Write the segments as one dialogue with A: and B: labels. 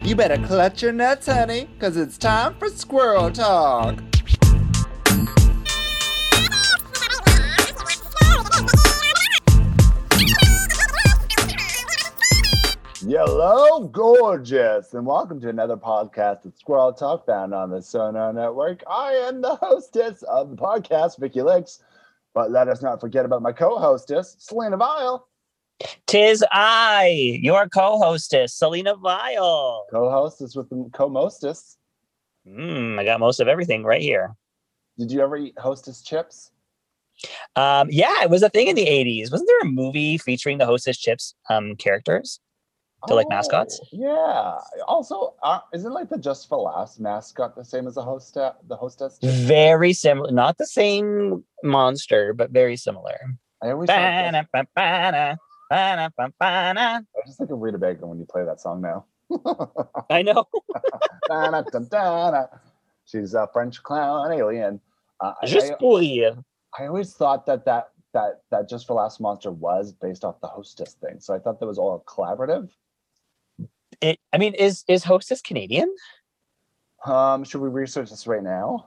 A: You better clutch your nuts, honey, because it's time for squirrel talk. Hello, gorgeous, and welcome to another podcast of Squirrel Talk found on the Sonar Network. I am the hostess of the podcast, Vicky Licks, but let us not forget about my co-hostess, Selena Vile.
B: Tis I, your co-hostess, Selena Vile.
A: Co-hostess with the co-mostess.
B: Mm, I got most of everything right here.
A: Did you ever eat hostess chips?
B: Um, yeah, it was a thing in the 80s. Wasn't there a movie featuring the hostess chips um, characters? They're like mascots?
A: Oh, Yeah. Also, uh, isn't like the Just for Laughs mascot the same as the hostess? The hostess. chip?
B: Mm. Very similar, not the same monster, but very similar.
A: I always thought that-
B: Ba-na, ba- ba-na, ba-na, ba- ba-na.
A: I just like a Rita Baker when you play that song now.
B: I know.
A: Da-na-dum-da-na. She's a French clown alien. Uh, I-
B: Just
A: I,
B: believe.
A: I always thought that that that that just for last monster was based off the hostess thing. So I thought that was all collaborative.
B: It, I mean, is is hostess Canadian?
A: Um, should we research this right now,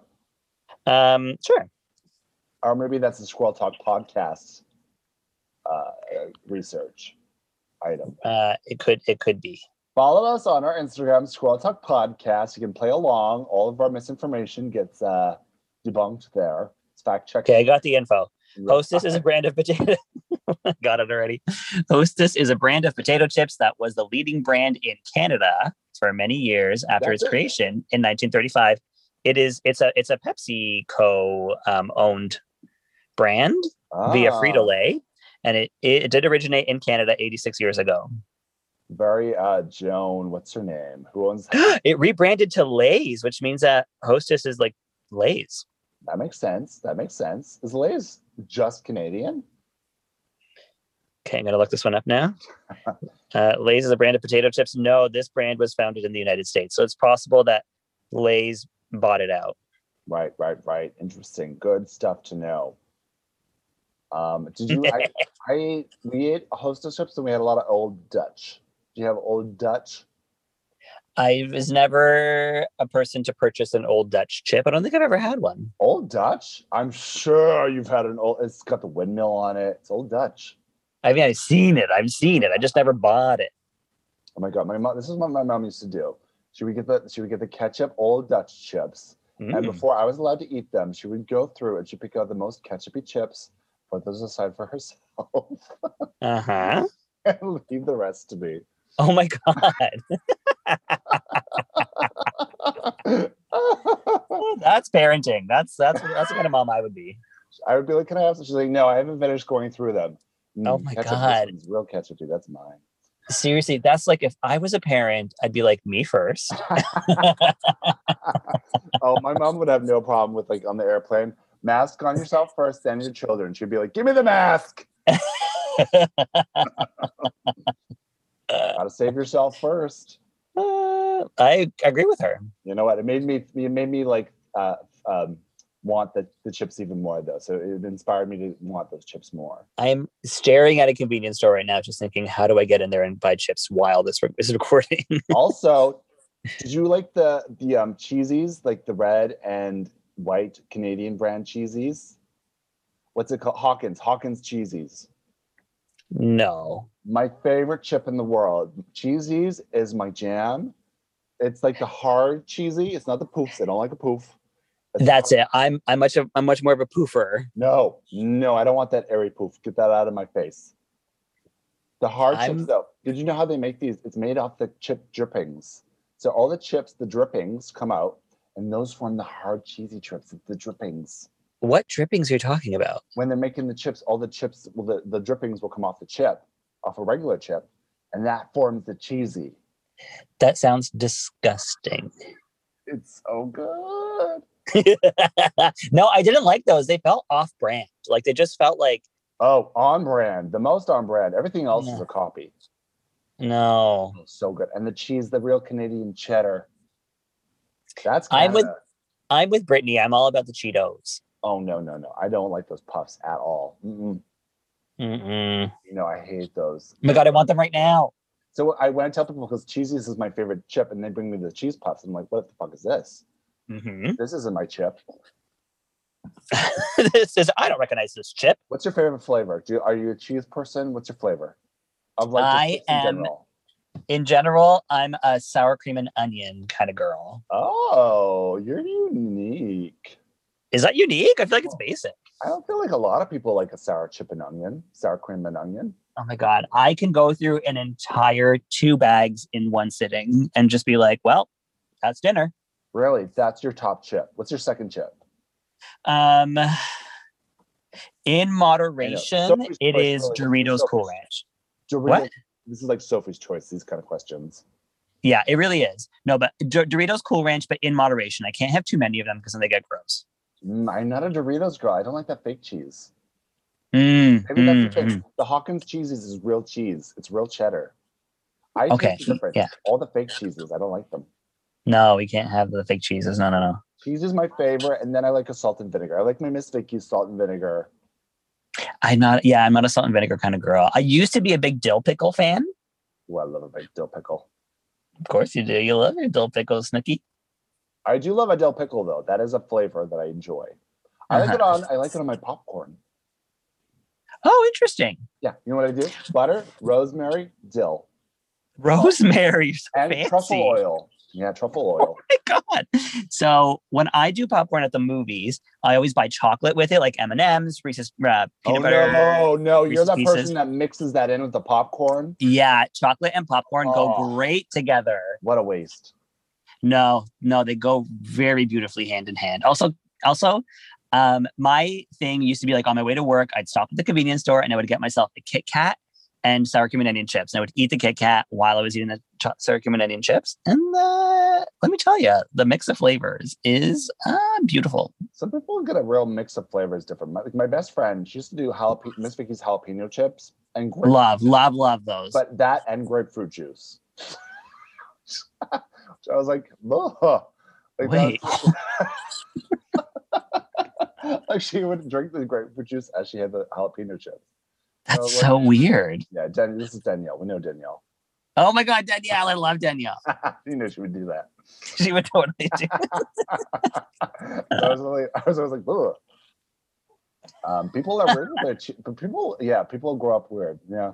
B: Um, sure.
A: or maybe that's a Squirrel Talk podcast uh, research item?
B: Uh, it could it could be.
A: Follow us on our Instagram, Squirrel Talk Podcast. You can play along. All of our misinformation gets uh, debunked there. It's fact checked.
B: Okay, I got the info. Hostess is a brand of potato. Got it already. Hostess is a brand of potato chips that was the leading brand in Canada for many years after
A: That's
B: its
A: it.
B: creation in 1935. It is it's a it's a PepsiCo um, owned brand via
A: Ah.
B: Frito Lay, and it, it did originate in Canada 86 years ago.
A: Very uh, Joan. What's her name? Who owns that?
B: it rebranded to Lay's, which means that Hostess is like Lay's.
A: makes sense. That makes sense. Is Lay's just Canadian?
B: Okay, I'm gonna look this one up now. Uh, Lay's is a brand of potato chips. No, this brand was founded in the United States, so it's possible that Lay's bought it out.
A: Right, right, right. Interesting. Good stuff to know. Um, did you? I, I ate, we ate hostess chips and we had a lot of old Dutch. Do you have old Dutch?
B: I was never a person to purchase an old Dutch chip. I don't think I've ever had one.
A: Old Dutch? I'm sure you've had an old. It's got the windmill on it. It's old Dutch.
B: I mean, I've seen it. I've seen it. I just never bought it.
A: Oh my god, my mom. This is what my mom used to do. She would get the she would get the ketchup old Dutch chips, and
B: Mm.
A: before I was allowed to eat them, she would go through and she would pick out the most ketchupy chips, put those aside for herself,
B: Uh huh.
A: and leave the rest to me.
B: Oh my god, that's parenting. That's that's that's the kind of mom I would be.
A: I would be like, "Can I have?" some?" She's like, "No, I haven't finished going through them."
B: Oh
A: Mm,
B: my
A: ketchup, this
B: God.
A: one's real ketchupy. That's mine.
B: Seriously, that's like if I was a parent, I'd be like me first.
A: oh, my mom would have no problem with like on the airplane, mask on yourself first, then your children. She'd be like, "Give me the mask. Gotta save yourself first.
B: Uh, I agree with her.
A: You know what? It made me. It made me like uh, um, want the, the chips even more though. So it inspired me to want those chips more.
B: I'm staring at a convenience store right now, just thinking, how do I get in there and buy chips while this re- is recording?
A: also, did you like the the um, cheesies, like the red and white Canadian brand cheesies? What's it called? Hawkins. Hawkins cheesies.
B: no.
A: my favorite chip in the world. Cheesies is my jam. It's like the hard cheesy. It's not the poofs. I don't like a poof. It's-
B: That's it. I'm I'm much of I'm much more of a poofer.
A: No, no, I don't want that airy poof. Get that out of my face. The hard
B: I'm-
A: chips though. Did you know how they make these? It's made off the chip drippings. So all the chips, the drippings come out, and those form the hard cheesy chips. It's the drippings.
B: What drippings are you talking about?
A: When they're making the chips, all the chips, well, the, the drippings will come off the chip, off a regular chip, and that forms the cheesy.
B: That sounds disgusting.
A: It's so good.
B: no, I didn't like those. They felt off brand. Like they just felt like
A: Oh, on brand. The most on brand. Everything else is
B: Yeah.
A: a copy.
B: no.
A: Mm, So good. And the cheese, the real Canadian cheddar. That's
B: I would-
A: Canada.
B: I'm with Brittany. I'm all about the Cheetos.
A: Oh no, no, no! I don't like those puffs at all. Mm-mm.
B: Mm-mm.
A: You know, I hate those.
B: Oh my god, I want them right now.
A: So I when I tell people because cheesies is my favorite chip, and they bring me the cheese puffs, I'm like, what the fuck is this?
B: Mm-hmm.
A: This isn't my chip.
B: this is I don't recognize this chip.
A: What's your favorite flavor? Do you, are you a cheese person? What's your flavor? Of like
B: I
A: just
B: am- In general, I'm a sour cream and onion kind of girl.
A: Oh, you're unique.
B: Is that unique? I feel
A: Oh.
B: like it's basic.
A: I don't feel like a lot of people like a sour chip and onion, sour cream and onion.
B: Oh my god, I can go through an entire two bags in one sitting and just be like, well, that's dinner.
A: Really, that's your top chip. What's your second chip?
B: Um in
A: I know.
B: moderation,
A: Sophie's
B: it
A: Choice
B: is
A: really-
B: Doritos
A: Sophie's-
B: Cool Ranch.
A: Doritos-
B: What?
A: This is like Sophie's choice. These kind of questions.
B: Yeah, it really is. No, but Dor- Doritos Cool Ranch, but in moderation. I can't have too many of them because then they get gross.
A: Mm, I'm not a Doritos girl. I don't like that fake cheese.
B: Mm,
A: Maybe
B: mm,
A: that's the
B: mm.
A: thing. The Hawkins cheeses is real cheese. It's real cheddar. I taste
B: Okay,
A: the difference.
B: yeah.
A: All the fake cheeses, I don't like them.
B: No, we can't have the fake cheeses. No, no, no.
A: Cheese is my favorite, and then I like a salt and vinegar. I like my Miss Vicky's salt and vinegar.
B: I'm not. Yeah, I'm not a salt and vinegar kind of girl. I used to be a big dill pickle fan.
A: Ooh, I love a big dill pickle.
B: Of course you do. You love your dill pickle, Snooky.
A: I do love a dill pickle though. That is a flavor that I enjoy. I like it
B: Uh-huh.
A: on. I like it on my popcorn.
B: Oh, interesting.
A: Yeah, you know what I do? Butter, rosemary, dill,
B: Rosemary, you're so
A: and
B: fancy.
A: truffle oil. Yeah, truffle oil.
B: my god! So when I do popcorn at the movies, I always buy chocolate with it, like M and M's, Reese's uh, peanut
A: oh
B: butter.
A: no, no, you're
B: Reese's
A: that person
B: Pieces.
A: that mixes that in with the popcorn.
B: Yeah, chocolate and popcorn
A: Oh.
B: go great together.
A: What a waste.
B: No, no, they go very beautifully hand in hand. Also, also, um, my thing used to be like on my way to work, I'd stop at the convenience store and I would get myself a Kit Kat and sour cream and onion chips. And I would eat the Kit Kat while I was eating the cho- sour cream and onion chips. And uh, let me tell you, the mix of flavors is uh, beautiful.
A: Some people get a real mix of flavors different. My, like my best friend, she used to do jalapeno, Miss Vicky's jalapeno chips and grape,
B: Love, love, love those.
A: but that and grapefruit juice. so I was like, Ugh. like that was- like she would drink the grapefruit juice as she had the jalapeno chips.
B: That's
A: uh,
B: so weird.
A: Yeah, Dan- this is Danielle. We know Danielle.
B: Oh my God, Danielle, I love Danielle.
A: you know she would do that.
B: She would totally do.
A: I was like, I was, I was like, Ugh. Um, people are weird. with their che- but people, yeah, people grow up weird. Yeah.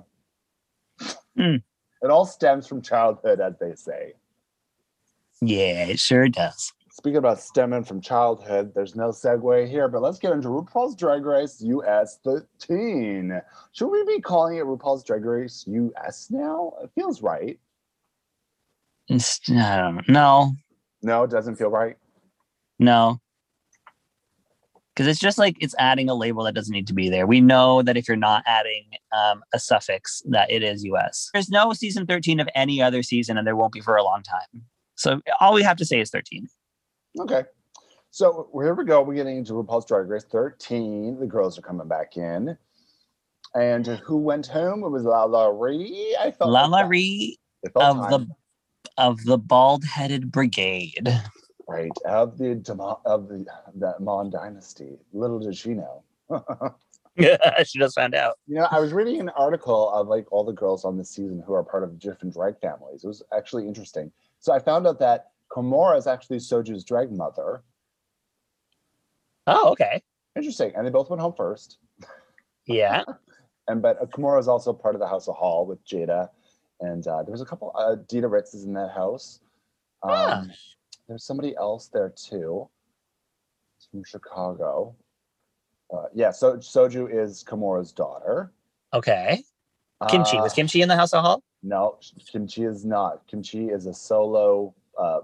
B: Hmm.
A: It all stems from childhood, as they say.
B: Yeah, it sure does.
A: Speaking about stemming from childhood, there's no segue here, but let's get into RuPaul's Drag Race US 13. Should we be calling it RuPaul's Drag Race US now? It feels right.
B: It's, um, I don't know.
A: No, it doesn't feel right.
B: No. Because it's just like it's adding a label that doesn't need to be there. We know that if you're not adding um, a suffix, that it is US. There's no season 13 of any other season, and there won't be for a long time. So all we have to say is 13.
A: Okay. So here we go. We're getting into RuPaul's Drag Race 13. The girls are coming back in. And who went home? It was Lala Ree. I felt
B: La
A: like
B: La
A: that.
B: Ree
A: It felt
B: of the
A: time,
B: of the bald headed brigade.
A: right of the Demo- of the the Mon dynasty. Little did she know.
B: she just found out.
A: You know, I was reading an article of like all the girls on this season who are part of different drag families. It was actually interesting. So I found out that Komora is actually Soju's drag mother.
B: Oh, okay.
A: Interesting. And they both went home first.
B: Yeah.
A: and but Kimura is also part of the House of Hall with Jada, and uh, there was a couple. Uh, Dita Ritz is in that house. Um,
B: Ah.
A: There's somebody else there too. It's from Chicago. Uh, yeah, so Soju is Kimura's daughter.
B: Okay. Kimchi.
A: Uh,
B: Was Kimchi in the House of Hall?
A: No, kimchi is not. Kimchi is a solo uh,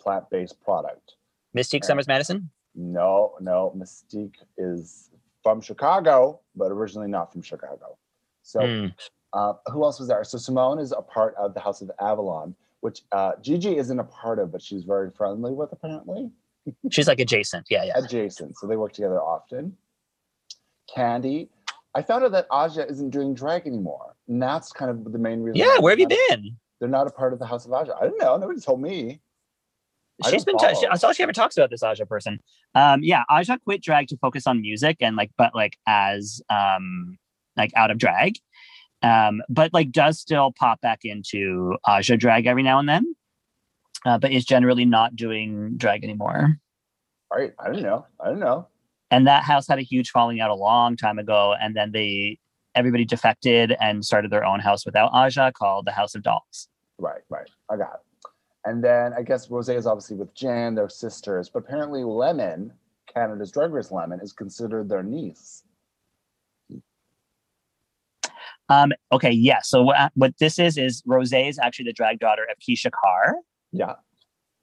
A: plant-based product.
B: Mystique
A: Yeah.
B: Summers Madison?
A: No, no, Mystique is from Chicago, but originally not from Chicago. So
B: Hmm.
A: Uh, who else was there? So Simone is a part of the House of Avalon, which uh, Gigi isn't a part of, but she's very friendly with apparently.
B: Hmm. She's like adjacent. Yeah, yeah.
A: Adjacent, so they work together often. Candy, I found out that Aja isn't doing drag anymore, and that's kind of the main reason.
B: Yeah,
A: why
B: where have you
A: they're not-
B: been?
A: They're not a part of the House of Aja. I don't know. Nobody told me. I
B: She's
A: don't
B: been. T-
A: follow.
B: she, that's all she ever talks about. This Aja person. Um, yeah, Aja quit drag to focus on music and like, but like as um, like out of drag, um, but like does still pop back into Aja drag every now and then, uh, but is generally not doing drag anymore.
A: Right. I don't know. I don't know.
B: And that house had a huge falling out a long time ago, and then they everybody defected and started their own house without Aja called the House of Dolls.
A: Right. Right. I got it. And then I guess Rose is obviously with Jan, they're sisters, but apparently Lemon, Canada's Drag Race Lemon, is considered their niece.
B: Um, okay, yeah. So what, what this is is Rose is actually the drag daughter of Keisha Carr,
A: Yeah.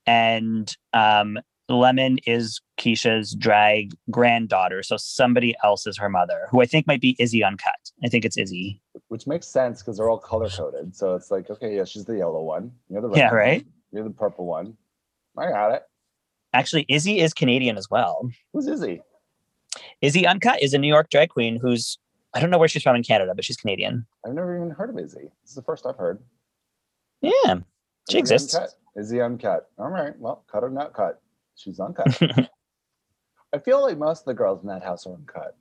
B: and um, Lemon is Keisha's drag granddaughter. So somebody else is her mother, who I think might be Izzy Uncut. I think it's Izzy.
A: Which makes sense because they're all color coded. So it's like, okay, yeah, she's the yellow one. You're the red
B: Yeah,
A: one,
B: right.
A: You're the purple one. I got it.
B: Actually, Izzy is Canadian as well.
A: Who's Izzy?
B: Izzy Uncut is a New York drag queen who's I don't know where she's from in Canada, but she's Canadian.
A: I've never even heard of Izzy. This is the first I've heard.
B: Yeah, she
A: Izzy
B: exists.
A: Uncut. Izzy uncut. All right. Well, cut or not cut. She's uncut. I feel like most of the girls in that house are uncut.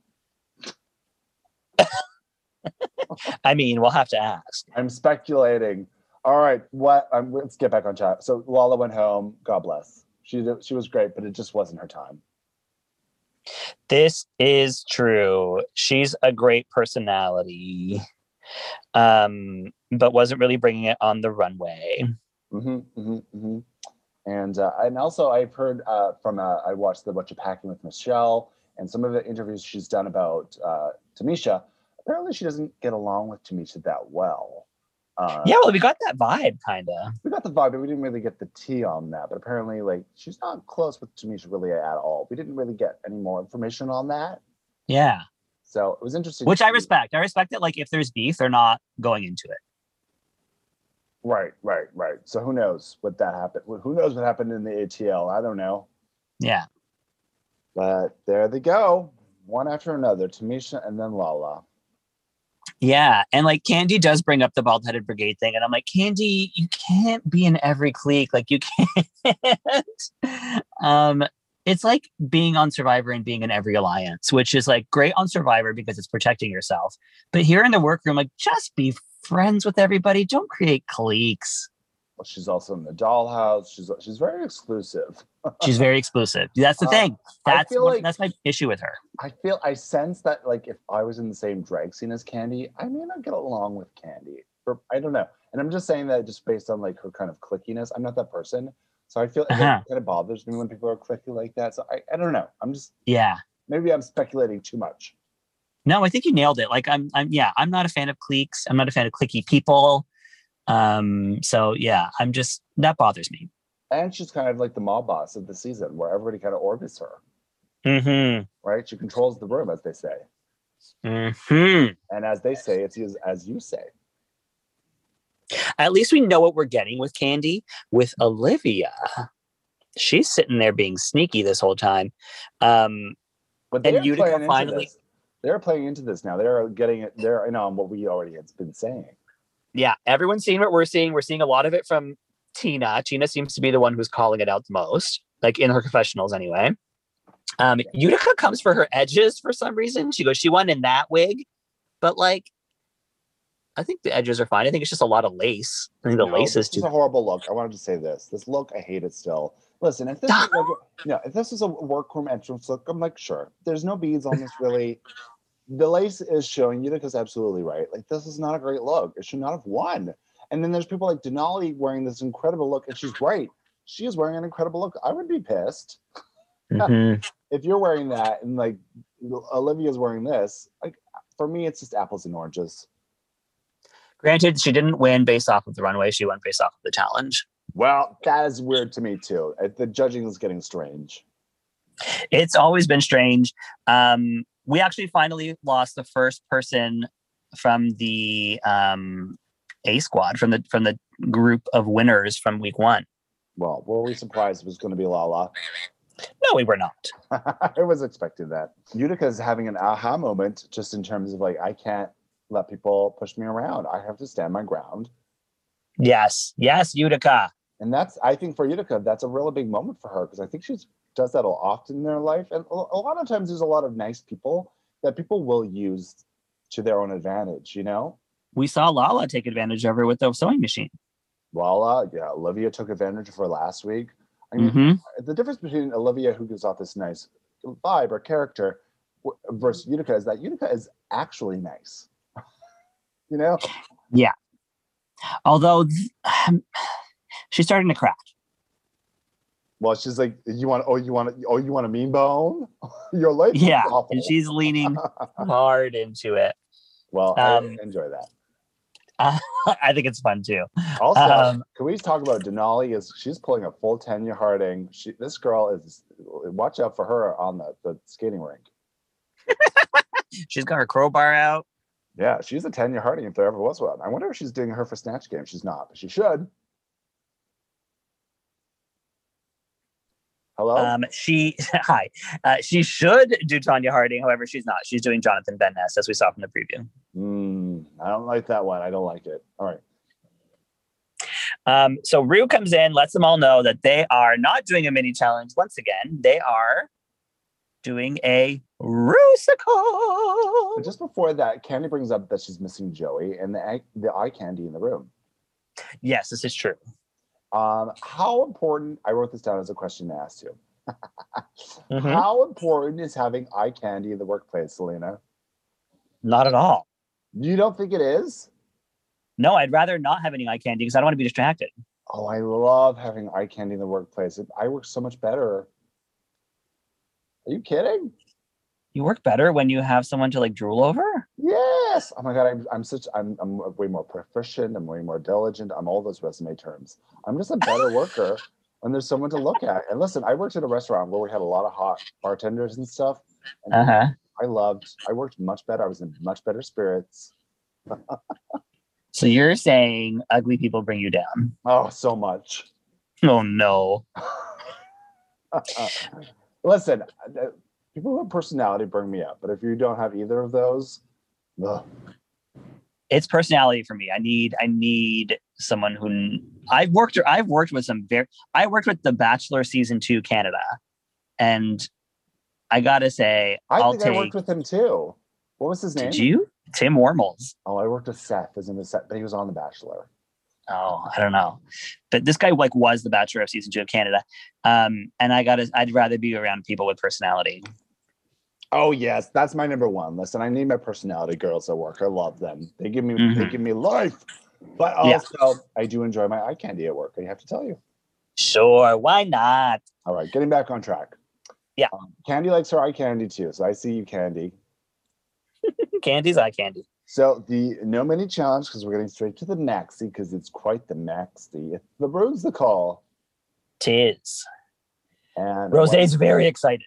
B: I mean, we'll have to ask.
A: I'm speculating. All right, what? Um, let's get back on track. So Lala went home. God bless. She did- she was great, but it just wasn't her time.
B: This is true. She's a great personality, um, but wasn't really bringing it on the runway.
A: hmm hmm hmm And uh, and also I've heard uh, from uh, I watched the What You Packing with Michelle and some of the interviews she's done about uh, Tamisha. Apparently, she doesn't get along with Tamisha that well. Uh,
B: Yeah, well, we got that vibe, kind of.
A: we got the vibe, but we didn't really get the tea on that. But apparently, like she's not close with Tamisha really at all. We didn't really get any more information on that.
B: Yeah,
A: So it was interesting.
B: which
A: to
B: I
A: see.
B: respect. I respect that. Like, if there's beef, they're not going into it.
A: Right, right, right. So who knows what that happened? wh- Who knows what happened in the ATL? I don't know.
B: Yeah,
A: But there they go, one after another, Tamisha and then Lala.
B: yeah. And like, Candy does bring up the bald headed brigade thing, and I'm like, Candy, you can't be in every clique. Like, you can't. um, it's like being on Survivor and being in every alliance, which is like great on Survivor because it's protecting yourself. But here in the workroom, like, just be friends with everybody. Don't create cliques.
A: Well, she's also in the dollhouse. She's she's very exclusive.
B: She's very exclusive. That's the
A: Uh,
B: thing.
A: I
B: That's
A: feel
B: what-
A: like-
B: that's my issue with her.
A: I feel I sense that like if I was in the same drag scene as Candy, I may not get along with Candy. Or, I don't know. And I'm just saying that just based on like her kind of clickiness. I'm not that person. So I feel it
B: Uh-huh.
A: kind of bothers me when people are clicky like that. So I, I don't know. I'm just
B: Yeah.
A: maybe I'm speculating too much.
B: No, I think you nailed it. Like I'm I'm yeah, I'm not a fan of cliques. I'm not a fan of clicky people. Um so yeah, I'm just that bothers me.
A: And she's kind of like the mob boss of the season where everybody kind of orbits her,
B: Mhm.
A: right? She controls the room, as they say.
B: Mhm.
A: And as they say, it's as, as you say.
B: At least we know what we're getting with Candy with Olivia. She's sitting there being sneaky this whole time. Um
A: But they
B: And
A: are
B: Utica
A: playing into
B: finally-
A: this. They're playing into this now. They're getting it. They're in on what we already had been saying.
B: yeah, everyone's seeing what we're seeing. We're seeing a lot of it from Tina. Tina seems to be the one who's calling it out the most, like in her confessionals anyway. Um, Utica comes for her edges for some reason. She goes, she won in that wig, but like, I think the edges are fine. I think it's just a lot of lace. I think the
A: No,
B: lace
A: this
B: is too.
A: a horrible look. I wanted to say this. This look, I hate it still. Listen, if this was like a, no, if this was a workroom entrance look, I'm like, sure. There's no beads on this really. The lace is showing Utica's absolutely right. Like this is not a great look. It should not have won. And then there's people like Denali wearing this incredible look, and she's right. She is wearing an incredible look. I would be pissed
B: Mhm.
A: if you're wearing that and like Olivia's wearing this. Like for me, it's just apples and oranges.
B: Granted, she didn't win based off of the runway. She won based off of the challenge.
A: Well, that is weird to me too. Uh, The judging is getting strange.
B: It's always been strange. Um, we actually finally lost the first person from the um, A squad from the from the group of winners from week one.
A: Well, were we surprised it was going to be Lala?
B: No, we were not.
A: I was expecting that. Utica's having an aha moment just in terms of like, I can't let people push me around. I have to stand my ground.
B: Yes, yes, Utica.
A: And that's, I think for Utica, that's a really big moment for her because I think she does that a lot often in her life. And a a lot of times there's a lot of nice people that people will use to their own advantage, you know?
B: we saw Lala take advantage of her with the sewing machine.
A: Lala, yeah, Olivia took advantage of her last week. I mean,
B: Mhm.
A: the difference between Olivia, who gives off this nice vibe or character, w- versus Utica is that Utica is actually nice. you know,
B: Although th- um, she's starting to crack.
A: well, she's like, you want, oh, you want, oh, you want a mean bone? Your life is
B: Yeah,
A: awful.
B: and she's leaning hard into it.
A: well, I
B: um,
A: enjoy that.
B: I think it's fun too.
A: Also,
B: Um,
A: can we talk about Denali? Is she's pulling a full Tanya Harding? She, this girl is. Watch out for her on the, the skating rink.
B: She's got her crowbar out.
A: Yeah, she's a Tanya Harding if there ever was one. I wonder if she's doing her for snatch game. She's not, but she should. Hello.
B: Um, she hi. Uh, she should do Tanya Harding. However, she's not. She's doing Jonathan Ben Ness, as we saw from the preview.
A: Mm, I don't like that one. I don't like it. All right.
B: Um, so Rue comes in, lets them all know that they are not doing a mini challenge once again. They are doing a
A: But
B: Rusical.
A: just before that, Candy brings up that she's missing Joey and the eye- the eye candy in the room.
B: Yes, this is true.
A: Um, how important? I wrote this down as a question to ask you.
B: Mhm.
A: How important is having eye candy in the workplace, Selena?
B: Not at all.
A: You don't think it is?
B: No, I'd rather not have any eye candy because I don't want to be distracted.
A: Oh, I love having eye candy in the workplace. It- I work so much better. Are you kidding?
B: You work better when you have someone to like drool over.
A: Yes. Oh my God. I'm, I'm such, I'm, I'm way more proficient. I'm way more diligent. I'm all those resume terms. I'm just a better worker when there's someone to look at. And listen, I worked at a restaurant where we had a lot of hot bartenders and stuff. And
B: Uh huh.
A: I loved, I worked much better. I was in much better spirits.
B: So you're saying ugly people bring you down?
A: Oh, so much.
B: Oh no.
A: Listen, uh, people who have personality bring me up, but if you don't have either of those, ugh.
B: it's personality for me. I need I need someone who I've worked I've worked with some very I worked with The Bachelor season two Canada, and I gotta say
A: I
B: I'll
A: think
B: take.
A: I worked with him too. What was his name?
B: did you Tim Wormels?
A: Oh, I worked with Seth. His name was Seth, but he was on The Bachelor.
B: Oh, I don't know, but this guy like was The Bachelor of season two of Canada, um, and I gotta I'd rather be around people with personality.
A: Oh yes, that's my number one. Listen, I need my personality girls at work. I love them. They give me they
B: Mhm.
A: give me life. But
B: Yeah.
A: also, I do enjoy my eye candy at work. I have to tell you.
B: Sure, why not?
A: All right, getting back on track.
B: Yeah.
A: Um, candy likes her eye candy too, so I see you, Candy.
B: Candy's eye candy.
A: So the no mini challenge because we're getting straight to the maxi because it's quite the maxi. The rose the call
B: Tis.
A: and
B: Rose's very excited.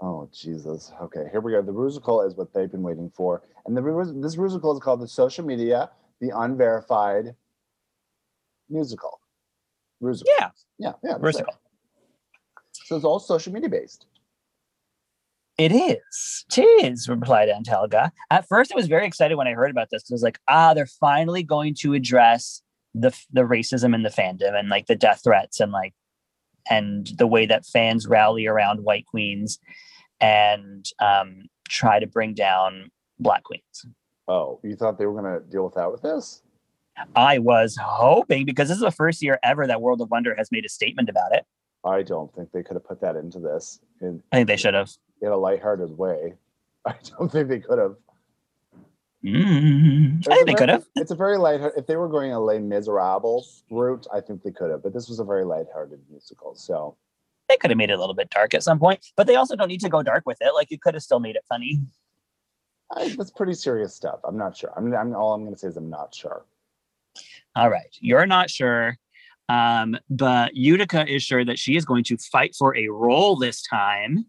A: Oh Jesus! Okay, here we go. The Rusical is what they've been waiting for, and the Rus- this Rusical is called the Social Media, the Unverified Musical. Rusical.
B: Yeah,
A: yeah, yeah. that's it.
B: Rusical.
A: So it's all social media based.
B: It is. Tis, replied Antelga. At first, I was very excited when I heard about this. 'cause I was like, ah, they're finally going to address the f- the racism in the fandom and like the death threats and like and the way that fans rally around white queens and um, try to bring down black queens.
A: Oh, you thought they were going to deal with that with this?
B: I was hoping because this is the first year ever that World of Wonder has made a statement about it.
A: I don't think they could have put that into this in
B: I think they should have.
A: in a lighthearted way. I don't think they could have.
B: Mm. I
A: It's a
B: think they
A: very-
B: could have.
A: It's a very light. If they were going a Les Miserables route, I think they could have. But this was a very lighthearted musical, so.
B: They could have made it a little bit dark at some point, but they also don't need to go dark with it. Like you could have still made it funny.
A: I, that's pretty serious stuff. I'm not sure. I'm, I'm all I'm going to say is I'm not sure.
B: All right. You're not sure. Um, but Utica is sure that she is going to fight for a role this time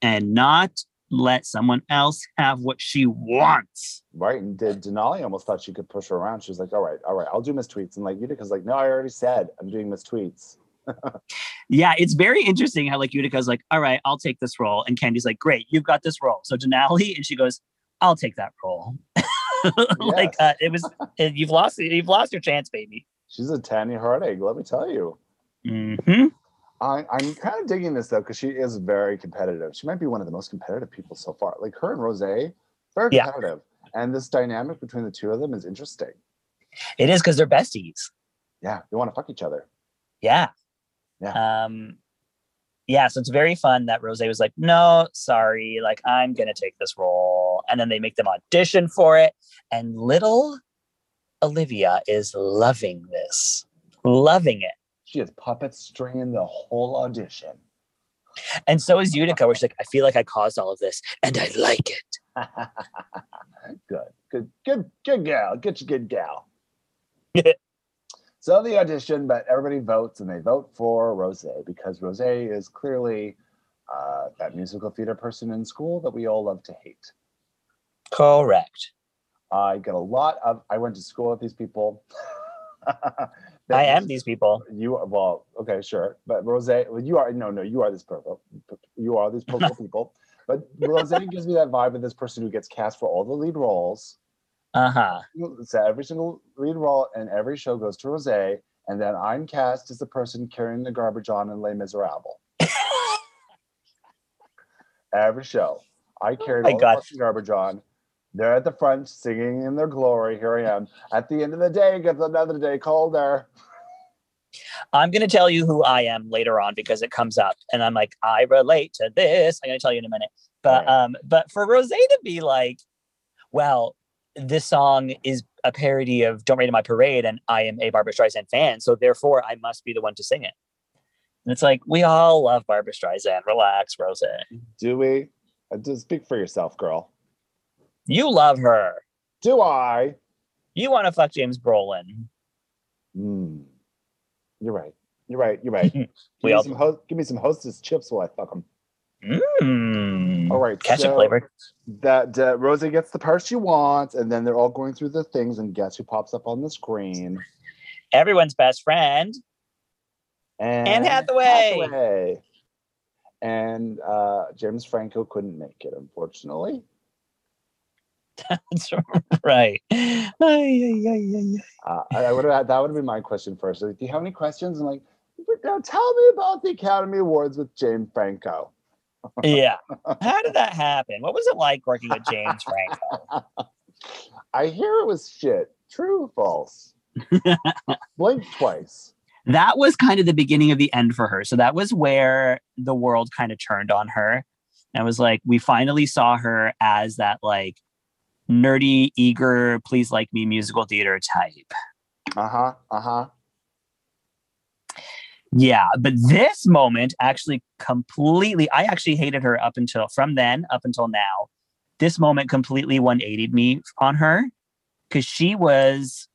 B: and not let someone else have what she wants.
A: Right? And did Denali almost thought she could push her around? She was like, "All right, all right, I'll do Miss Tweets." And like Utica's like, "No, I already said I'm doing Miss Tweets."
B: Yeah, it's very interesting how like Utica's like, all right, I'll take this role. And Candy's like, Great, you've got this role. So Denali and she goes, I'll take that role. like
A: Yes.
B: uh, it was you've lost you've lost your chance, baby.
A: She's a tiny heartache. Let me tell you.
B: hmm
A: I, I'm kind of digging this though because she is very competitive. She might be one of the most competitive people so far. Like her and Rose, very
B: Yeah.
A: competitive. And this dynamic between the two of them is interesting.
B: It is because they're besties.
A: Yeah, they want to fuck each other.
B: Yeah.
A: Yeah.
B: Um, yeah. So it's very fun that Rose was like, no, sorry, like I'm gonna take this role. And then they make them audition for it. And little Olivia is loving this, loving it.
A: She is puppet stringing the whole audition.
B: And so is Utica, where she's like, I feel like I caused all of this and I like it.
A: good, good, good, good gal. Good, good gal. so the audition, but everybody votes and they vote for Rose because Rose is clearly uh, that musical theater person in school that we all love to hate.
B: Correct.
A: I get a lot of. I went to school with these people.
B: I am these people.
A: You are well, okay, sure, but Rose, well, you are no, no, you are this purple. You are these purple people. But Rose gives me that vibe of this person who gets cast for all the lead roles.
B: Uh huh.
A: So every single lead role and every show goes to Rose, and then I'm cast as the person carrying the garbage on in Les Miserables. every show, I carried
B: my
A: all
B: God.
A: the fucking garbage on. They're at the front singing in their glory. Here I am. At the end of the day, gets another day colder.
B: I'm going to tell you who I am later on because it comes up and I'm like, I relate to this. I'm going to tell you in a minute. But
A: Right.
B: um but for Rose to be like, well, this song is a parody of Don't Rain in My Parade and I am a Barbara Streisand fan, so therefore I must be the one to sing it. And it's like, we all love Barbara Streisand. Relax, Rose.
A: Do we? Uh, Just speak for yourself, girl.
B: You love her.
A: Do I?
B: You want to fuck James Brolin.
A: Mm. You're right. You're right. You're right. give,
B: We
A: me
B: all-
A: some ho- give me some hostess chips while I fuck them.
B: Mm.
A: All right.
B: Ketchup
A: so
B: flavor.
A: That uh, Rosie gets the part she wants, and then they're all going through the things, and guess who pops up on the screen?
B: Everyone's best friend.
A: And
B: Anne Hathaway.
A: Hathaway. And uh, James Franco couldn't make it, unfortunately.
B: That's right. Ay, ay, ay, ay, ay.
A: Uh, I I would've had- that would have been my question first. Like, Do you have any questions? I'm like, now tell me about the Academy Awards with James Franco.
B: yeah. How did that happen? What was it like working with James Franco?
A: I hear it was shit. True, or false. Blink twice.
B: That was kind of the beginning of the end for her. So that was where the world kind of turned on her. And it was like, we finally saw her as that like nerdy, eager, please like me musical theater type.
A: Uh huh. Uh huh.
B: Yeah. But this moment actually completely, I actually hated her up until from then up until now. This moment completely 180'd me on her because she was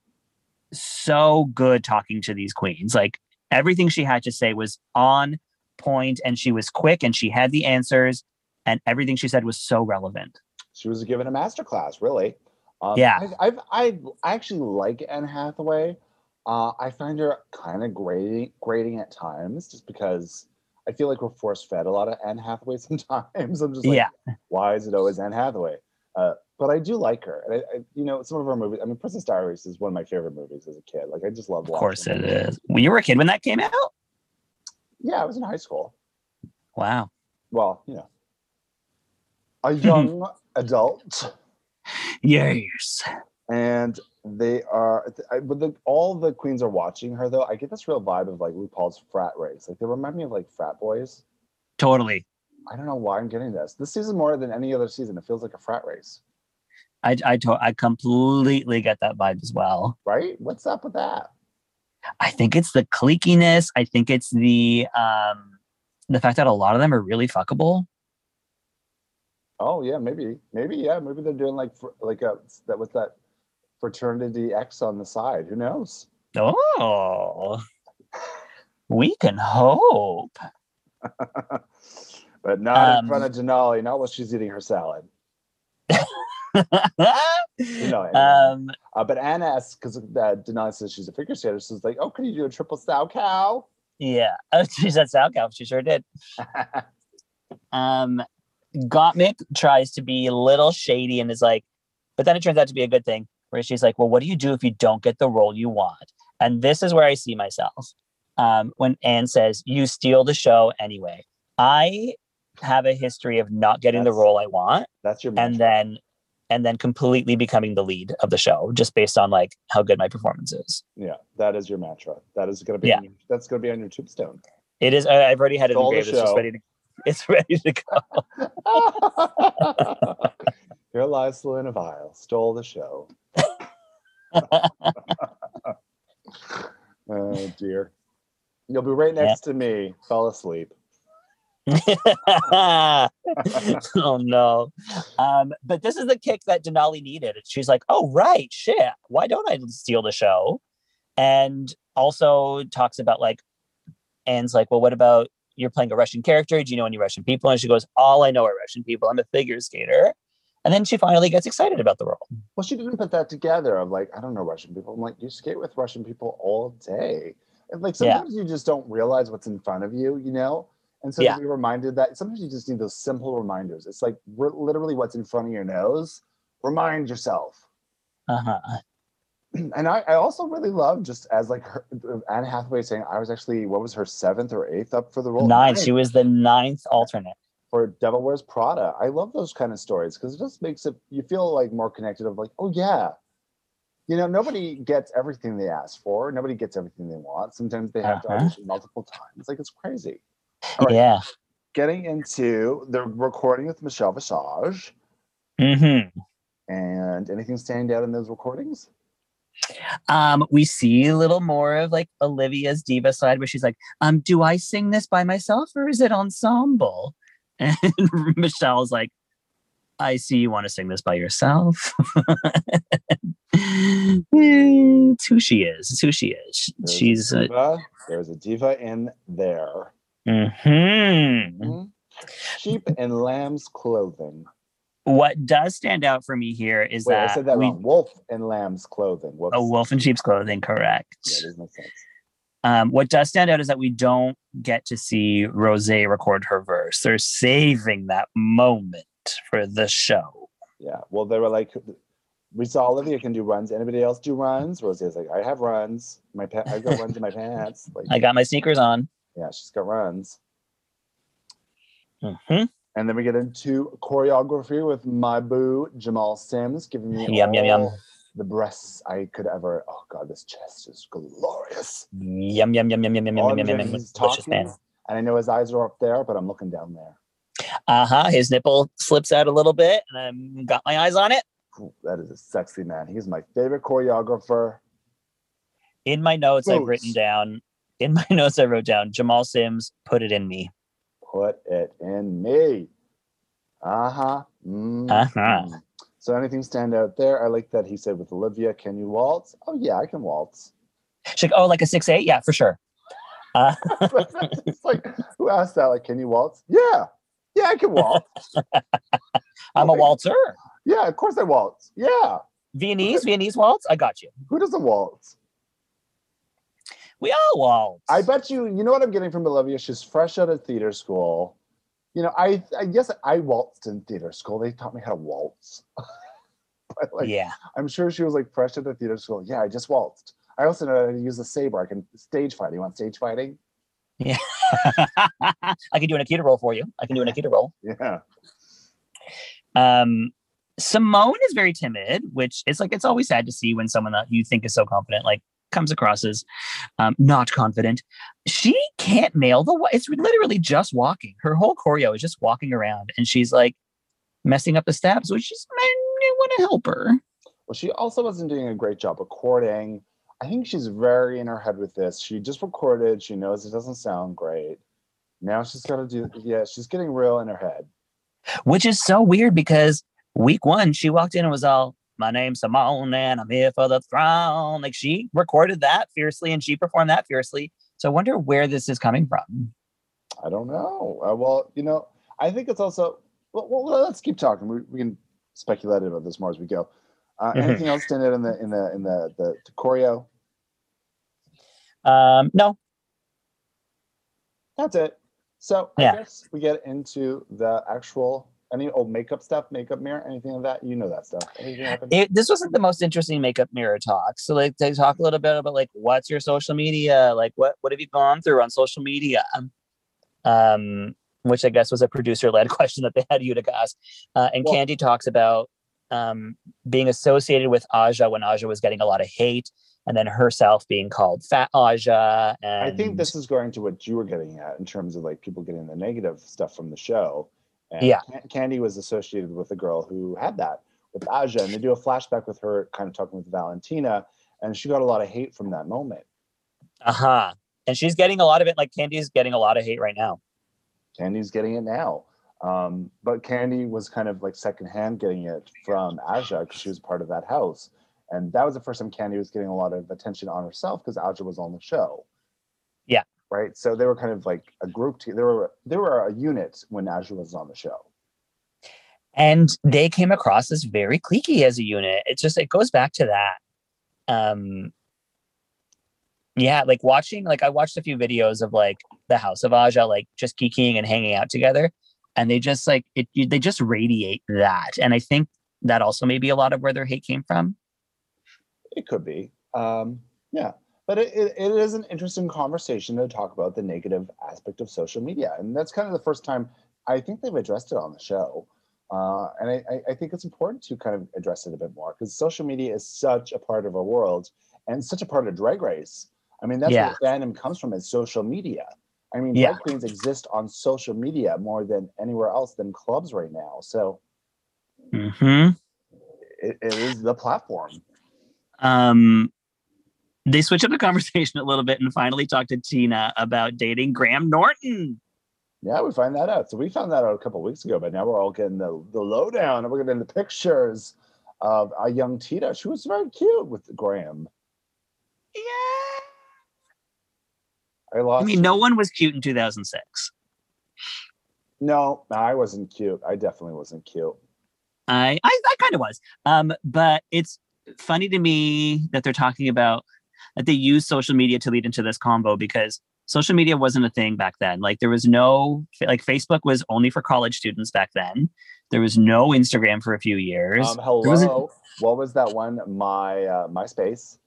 B: so good talking to these queens. Like everything she had to say was on point and she was quick and she had the answers and everything she said was so relevant.
A: She was given a master class, really. Um,
B: Yeah.
A: I've, I've, I actually like Anne Hathaway. Uh, I find her kind of grating, grating at times, just because I feel like we're force fed a lot of Anne Hathaway sometimes. I'm just like,
B: yeah.
A: why is it always Anne Hathaway? Uh, but I do like her. And I, I, you know, some of her movies. I mean, Princess Diaries is one of my favorite movies as a kid. Like, I just love.
B: Of course it is. Well, you were a kid when that came out?
A: Yeah, I was in high school.
B: Wow.
A: well, you know, a young adult,
B: Yes.
A: and they are. I, but the, all the queens are watching her though. I get this real vibe of like RuPaul's frat race. Like they remind me of like frat boys.
B: Totally.
A: I don't know why I'm getting this. This season more than any other season. It feels like a frat race,
B: I I, to- I completely get that vibe as well.
A: right? What's up with that?
B: I think it's the cliquiness. I think it's the um the fact that a lot of them are really fuckable.
A: Oh yeah, maybe, maybe yeah, maybe they're doing like fr- like a that was that fraternity X on the side. Who knows?
B: Oh. We can hope.
A: But not in
B: Um,
A: front of Denali. Not while she's eating her salad. know, anyway.
B: um
A: Uh, but Anna asks because uh, Denali says she's a figure skater. So it's like, oh, can you do a triple sow cow?
B: yeah. Oh, she said sound cow. She sure did. Um Gottmik tries to be a little shady and is like, but then it turns out to be a good thing where she's like, Well, what do you do if you don't get the role you want? And this is where I see myself. Um, when Anne says, You steal the show anyway. I have a history of not getting the
A: That's-
B: role I want
A: That's your
B: and
A: mantra.
B: then and then completely becoming the lead of the show just based on like how good my performance is.
A: Yeah, that is your mantra. That is going to be
B: Yeah.
A: on your, that's going to be on your tombstone.
B: It is. I- I've already had it
A: Stole the
B: engraved. It's just
A: show.
B: ready to. It's ready to go.
A: Here lies Selena Vile, stole the show. oh dear. You'll be right
B: Yeah.
A: next to me. Fell asleep.
B: oh no! Um, but this is the kick that Denali needed. She's like, "Oh right, shit. Why don't I steal the show?" And also talks about like, Anne's like, "Well, what about you're playing a Russian character? Do you know any Russian people?" And she goes, "All I know are Russian people. I'm a figure skater." And then she finally gets excited about the role.
A: Well, she didn't put that together. I'm like, I don't know Russian people. I'm like, you skate with Russian people all day. And like
B: Yeah.
A: sometimes you just don't realize what's in front of you, you know? And so
B: Yeah.
A: to be reminded that sometimes you just need those simple reminders. It's like re- literally what's in front of your nose. Remind yourself.
B: Uh huh.
A: and I, I also really love just as like her, uh, Anne Hathaway saying I was actually what was her seventh or eighth up for the role
B: Nine. She was the ninth alternate.
A: for Devil Wears Prada. I love those kind of stories because it just makes it you feel like more connected of like oh yeah, you know nobody gets everything they ask for. Nobody gets everything they want. Sometimes they have to
B: Uh-huh.
A: audition multiple times. Like it's crazy. All right.
B: Yeah.
A: Getting into the recording with Michelle Visage
B: hmm
A: and anything stand out in those recordings?
B: um, we see a little more of like Olivia's diva side where she's like, um, do I sing this by myself or is it ensemble? And Michelle's like, I see you want to sing this by yourself. Mm, it's who she is. It's who she is.
A: There's
B: She's
A: a
B: a,
A: diva. there's a diva in there.
B: Mhm.
A: Mhm. Sheep and lamb's clothing.
B: What does stand out for me here is
A: Wait,
B: that,
A: I said that
B: we,
A: wrong. Wolf and lamb's clothing. Whoops.
B: a wolf in sheep's clothing, correct?
A: Yeah, that doesn't make sense.
B: Um, what does stand out is that we don't get to see Rose record her verse. They're saving that moment for the show.
A: Yeah. Well, they were like, we saw Olivia can do runs. Anybody else do runs? Rosie's like, I have runs. My pa- I got runs in my pants. Like,
B: I got my sneakers on.
A: yeah, she's got runs.
B: Mhm.
A: And then we get into choreography with my boo Jamal Sims giving me
B: Yum, yum, yum.
A: all the breasts I could ever. Oh God, this chest is glorious.
B: Yum yum yum yum yum yum
A: All
B: yum
A: I'm
B: yum yum.
A: hearing
B: yum.
A: is
B: Delicious man.
A: talking, And I know his eyes are up there, but I'm looking down there.
B: Uh huh. His nipple slips out a little bit, and I am got my eyes on it.
A: Ooh, that is a sexy man. He's my favorite choreographer.
B: In my notes, I've
A: Gross.
B: written down. In my notes, I wrote down Jamal Sims put it in me.
A: Put it in me. Uh huh. Mm.
B: Uh-huh.
A: So anything stand out there? I like that he said with Olivia, can you waltz? Oh yeah, I can waltz.
B: She's like, oh, like a six eight, yeah, for sure. Uh,
A: it's like who asked that? Like, can you waltz? Yeah, yeah, I can waltz.
B: I'm a
A: Like,
B: waltzer.
A: Yeah, of course I waltz. Yeah,
B: Viennese, Viennese waltz. I got you.
A: who doesn't waltz?
B: We all waltz.
A: I bet you. You know what I'm getting from Olivia? She's fresh out of theater school. You know, I I guess I waltzed in theater school. They taught me how to waltz. but like,
B: yeah.
A: I'm sure she was like fresh at the theater school. Yeah, I just waltzed. I also know how to use a saber. I can stage fight. You want stage fighting?
B: I can do an Akita roll for you. I can do an Akita roll.
A: Yeah.
B: Um, Simone is very timid, which is like it's always sad to see when someone that you think is so confident like comes across as um, not confident. She can't nail the. wa- It's literally just walking. Her whole choreo is just walking around, and she's like messing up the steps, which is I want to help her.
A: Well, she also wasn't doing a great job recording. I think she's very in her head with this. She just recorded. She knows it doesn't sound great. Now she's got to do. Yeah, she's getting real in her head.
B: which is so weird because week one she walked in and was all my name's simone and i'm here for the throne like she recorded that fiercely and she performed that fiercely so i wonder where this is coming from
A: I don't know. Uh, well, you know, I think it's also. Well, well let's keep talking. We, we can speculate about this more as we go. Uh,
B: Mhm.
A: Anything else stand out in the in the in the the, the choreo?
B: um no
A: That's it. So I
B: Yeah.
A: guess we get into the actual any old makeup stuff, makeup mirror, anything of that. You know that stuff. Anything happen?
B: it, this wasn't the most interesting makeup mirror talk so like they talk a little bit about like what's your social media like what what have you gone through on social media um which i guess was a producer-led question that they had you to ask uh, and
A: Well-
B: candy talks about um, being associated with Aja when Aja was getting a lot of hate, and then herself being called Fat Aja. And
A: I think this is going to what you were getting at in terms of like people getting the negative stuff from the show. And
B: Yeah.
A: Can- Candy was associated with a girl who had that with Aja, and they do a flashback with her kind of talking with Valentina, and she got a lot of hate from that moment.
B: uh huh. And she's getting a lot of it. Like Candy's getting a lot of hate right now.
A: Candy's getting it now. Um, but Candy was kind of like secondhand getting it from Aja because she was part of that house. And that was the first time Candy was getting a lot of attention on herself because Aja was on the show.
B: Yeah.
A: Right. So they were kind of like a group. T- they were they were a unit when Aja was on the show.
B: and they came across as very cliquey as a unit it's just it goes back to that um yeah like watching like i watched a few videos of like the house of aja like just geeking and hanging out together and they just like it you- they just radiate that and i think that also may be a lot of where their hate came from
A: It could be. Um, yeah. But it, it, it is an interesting conversation to talk about the negative aspect of social media. And that's kind of the first time I think they've addressed it on the show. Uh, and I, I- I think it's important to kind of address it a bit more because social media is such a part of our world and such a part of drag race. I mean, that's
B: Yeah.
A: where fandom comes from is social media. I mean,
B: Yeah.
A: drag queens exist on social media more than anywhere else than clubs right now. So
B: hmm
A: it, it is the platform.
B: um they switch up the conversation a little bit and finally talk to tina about dating graham norton
A: Yeah, we find that out. So we found that out a couple weeks ago, but now we're all getting the, the lowdown and we're getting the pictures of a young Tita. She was very cute with Graham.
B: yeah
A: I lost.
B: i mean no one was cute in 2006
A: No, I wasn't cute. I definitely wasn't cute.
B: I I, I kind of was. Um, but it's funny to me that they're talking about that they use social media to lead into this combo because social media wasn't a thing back then. Like there was no like Facebook was only for college students back then. There was no Instagram for a few years.
A: Um,
B: there was a-
A: hello. What was that one? My uh, MySpace.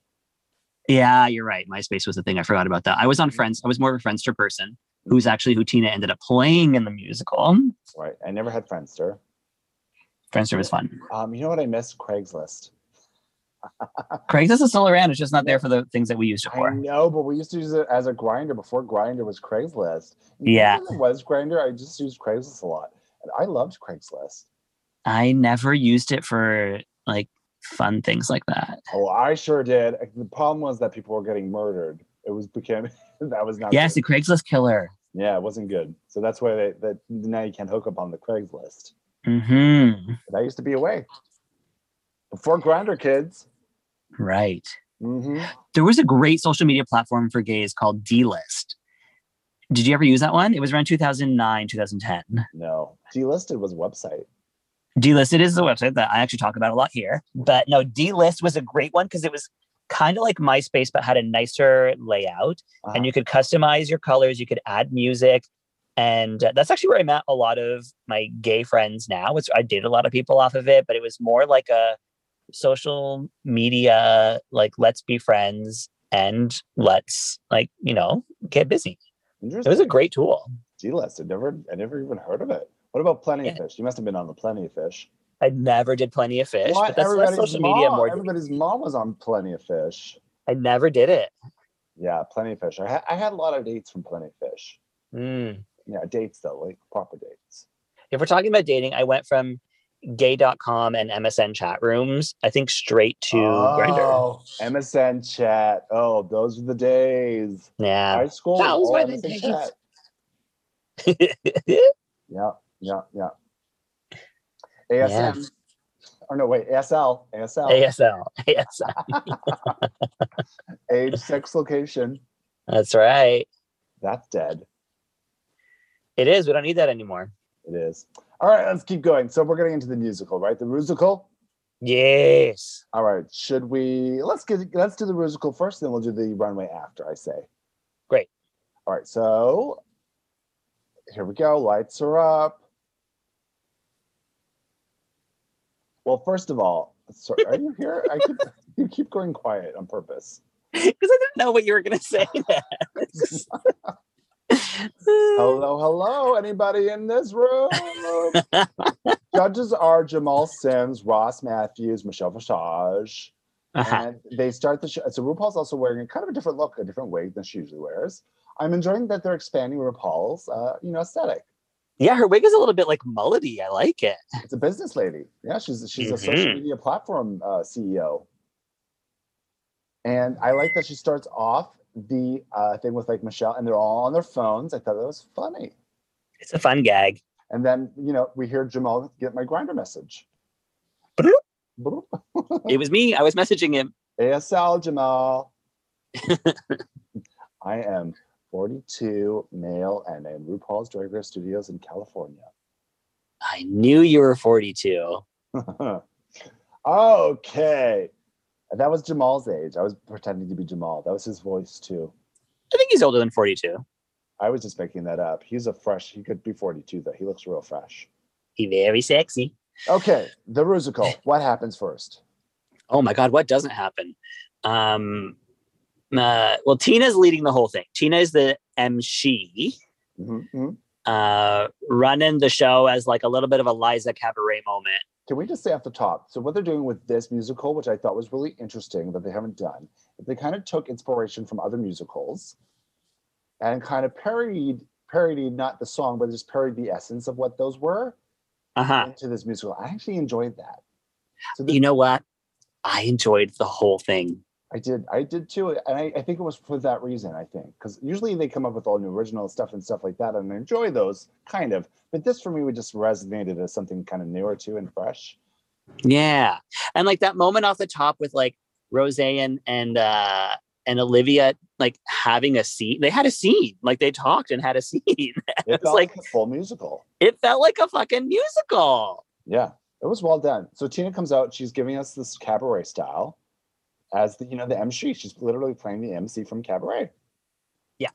B: yeah, you're right. MySpace was the thing. I forgot about that. I was
A: Mm-hmm.
B: on Friends. I was more of a Friendster person, who's actually who Tina ended up playing in the musical.
A: Right. I never had Friendster.
B: Friendster was fun.
A: Um, you know what I miss? Craigslist.
B: Craigslist is still around. It's just not there for the things that we used it
A: I
B: for.
A: know, but we used to use it as a grinder before Grinder was Craigslist. Even
B: Yeah.
A: when it was Grinder. I just used Craigslist a lot, and I loved Craigslist.
B: I never used it for like fun things like that.
A: Oh, I sure did. The problem was that people were getting murdered. It was became that was not.
B: Yes,
A: good.
B: the Craigslist killer.
A: Yeah, it wasn't good. So that's why they that now you can't hook up on the Craigslist.
B: hmm
A: That used to be a way before Grinder kids.
B: Right.
A: hmm
B: There was a great social media platform for gays called D List. Did you ever use that one? It was around 2009, 2010.
A: No, delisted was a website.
B: D List, it is a website that I actually talk about a lot here. But no, D List was a great one because it was kind of like MySpace, but had a nicer layout.
A: Uh-huh.
B: And you could customize your colors, you could add music. And uh, that's actually where I met a lot of my gay friends now. It's, I dated a lot of people off of it, but it was more like a social media, like, let's be friends and let's, like, you know, get busy. It
A: Interesting.
B: was a great tool.
A: delisted. Never, I never even heard of it. What about Plenty of
B: Yeah.
A: Fish? You must have been on the Plenty of Fish.
B: I never did plenty of fish,
A: Why
B: but that's less
A: everybody's
B: social media
A: mom-
B: more.
A: Everybody's mom was on Plenty of Fish.
B: I never did it.
A: Yeah, Plenty of Fish. I, ha- I had a lot of dates from Plenty of Fish.
B: Mm.
A: Yeah, dates though, like proper dates.
B: if we're talking about dating, I went from gay.com and MSN chat rooms, I think straight to Grindr.
A: oh, MSN chat. Oh, those were the days.
B: Yeah.
A: High school.
B: That was
A: all
B: where the
A: MSN
B: days-
A: chat. Yeah, yeah, yeah.
B: Yeah.
A: ASM. Or Oh, no, wait, ASL. ASL.
B: ASL. ASL.
A: Age, sex, location.
B: That's right.
A: That's dead.
B: It is. We don't need that anymore.
A: It is. All right, let's keep going. So we're getting into the musical, right? The musical.
B: Yes.
A: All right. Should we? Let's get. Let's do the musical first, then we'll do the runway after. I say.
B: Great.
A: All right. So here we go. Lights are up. Well, first of all, sorry, are you here? I keep, you keep going quiet on purpose.
B: Because I didn't know what you were going to say. Then.
A: Hello, hello. Anybody in this room? judges are Jamal Sims, Ross Matthews, Michelle Visage.
B: Uh-huh.
A: And they start the show. So RuPaul's also wearing kind of a different look, a different wig than she usually wears. I'm enjoying that they're expanding RuPaul's, uh, you know, aesthetic.
B: Yeah, her wig is a little bit like mullety. I like it.
A: It's a business lady. Yeah, she's she's a social
B: Mhm.
A: media platform uh, CEO. And I like that she starts off the uh, thing with like Michelle, and they're all on their phones. I thought that was funny.
B: It's a fun gag.
A: And then you know we hear Jamal get my grinder message.
B: Bloop.
A: Bloop.
B: It was me. I was messaging him.
A: ASL Jamal. I am 42, male, and in RuPaul's Drag Race Studios in California.
B: I knew you were 42.
A: okay. That was Jamal's age. I was pretending to be Jamal. That was his voice too.
B: I think he's older than 42.
A: I was just making that up. He's a fresh, he could be 42 though. He looks real fresh.
B: He very sexy.
A: Okay, the musical. What happens first?
B: Oh my God, what doesn't happen? Um, uh, well, Tina's leading the whole thing. Tina is the MC,
A: Mhm, mhm.
B: uh, running the show as like a little bit of a Liza Cabaret moment.
A: Can we just say off the top? So, what they're doing with this musical, which I thought was really interesting that they haven't done, is they kind of took inspiration from other musicals and kind of parodied, parodied not the song, but just parodied the essence of what those were
B: Uh huh.
A: into this musical. I actually enjoyed that. So the-
B: You know what? I enjoyed the whole thing.
A: I did. I did too. And I, I think it was for that reason, I think. Because usually they come up with all new original stuff and stuff like that. And I enjoy those kind of. But this for me would just resonated as something kind of newer too and fresh.
B: Yeah. And like that moment off the top with like Rose and and uh and Olivia like having a scene. They had a scene. Like they talked and had a scene.
A: It
B: It's
A: felt like,
B: like-
A: a full musical.
B: It felt like a fucking musical.
A: Yeah. It was well done. So Tina comes out, she's giving us this cabaret style as the, you know, the MC. She's literally playing the MC from cabaret.
B: Yeah.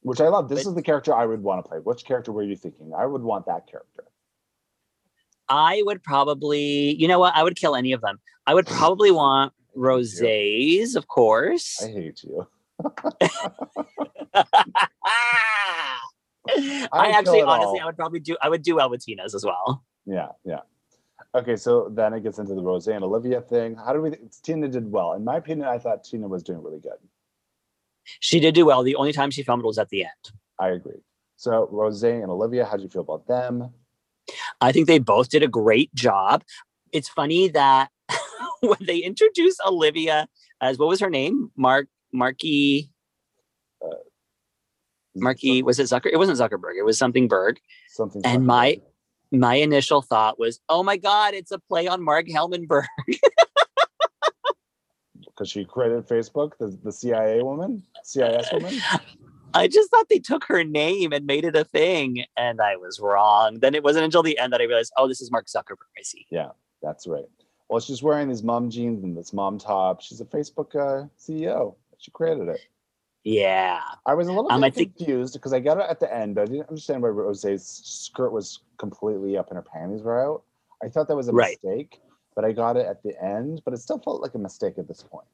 A: Which I love. This
B: But-
A: is the character I would want to play. Which character were you thinking? I would want that character.
B: I would probably, you know what? I would kill any of them. I would probably want Rose's, of course.
A: I hate you.
B: Ah! I,
A: I would kill
B: actually
A: it
B: honestly
A: all.
B: I would probably do I would do Albertina's as well.
A: Yeah, yeah. Okay, so then it gets into the Roseanne Olivia thing. How do we? Think? Tina did well, in my opinion. I thought Tina was doing really good.
B: She did do well. The only time she fumbled was at the end.
A: I agree. So Roseanne and Olivia, how do you feel about them?
B: I think they both did a great job. It's funny that when they introduce Olivia as what was her name? Mark Marky Marky was it Zucker? It wasn't Zuckerberg. It was something Berg.
A: something.
B: and
A: something.
B: my- My initial thought was, "Oh my god, it's a play on Mark Helmenberg."
A: because she created Facebook, the, the CIA woman, CIS woman.
B: I just thought they took her name and made it a thing, and I was wrong. Then it wasn't until the end that I realized, "Oh, this is Mark Zuckerberg." I see.
A: That's right. Well, she's wearing these mom jeans and this mom top. She's a Facebook uh, CEO. She created it.
B: Yeah.
A: I was a little bit
B: Um, I think-
A: confused because I got it at the end, but I didn't understand why Rose's skirt was completely up and her panties were out. I thought that was a
B: Right.
A: mistake, but I got it at the end, but it still felt like a mistake at this point.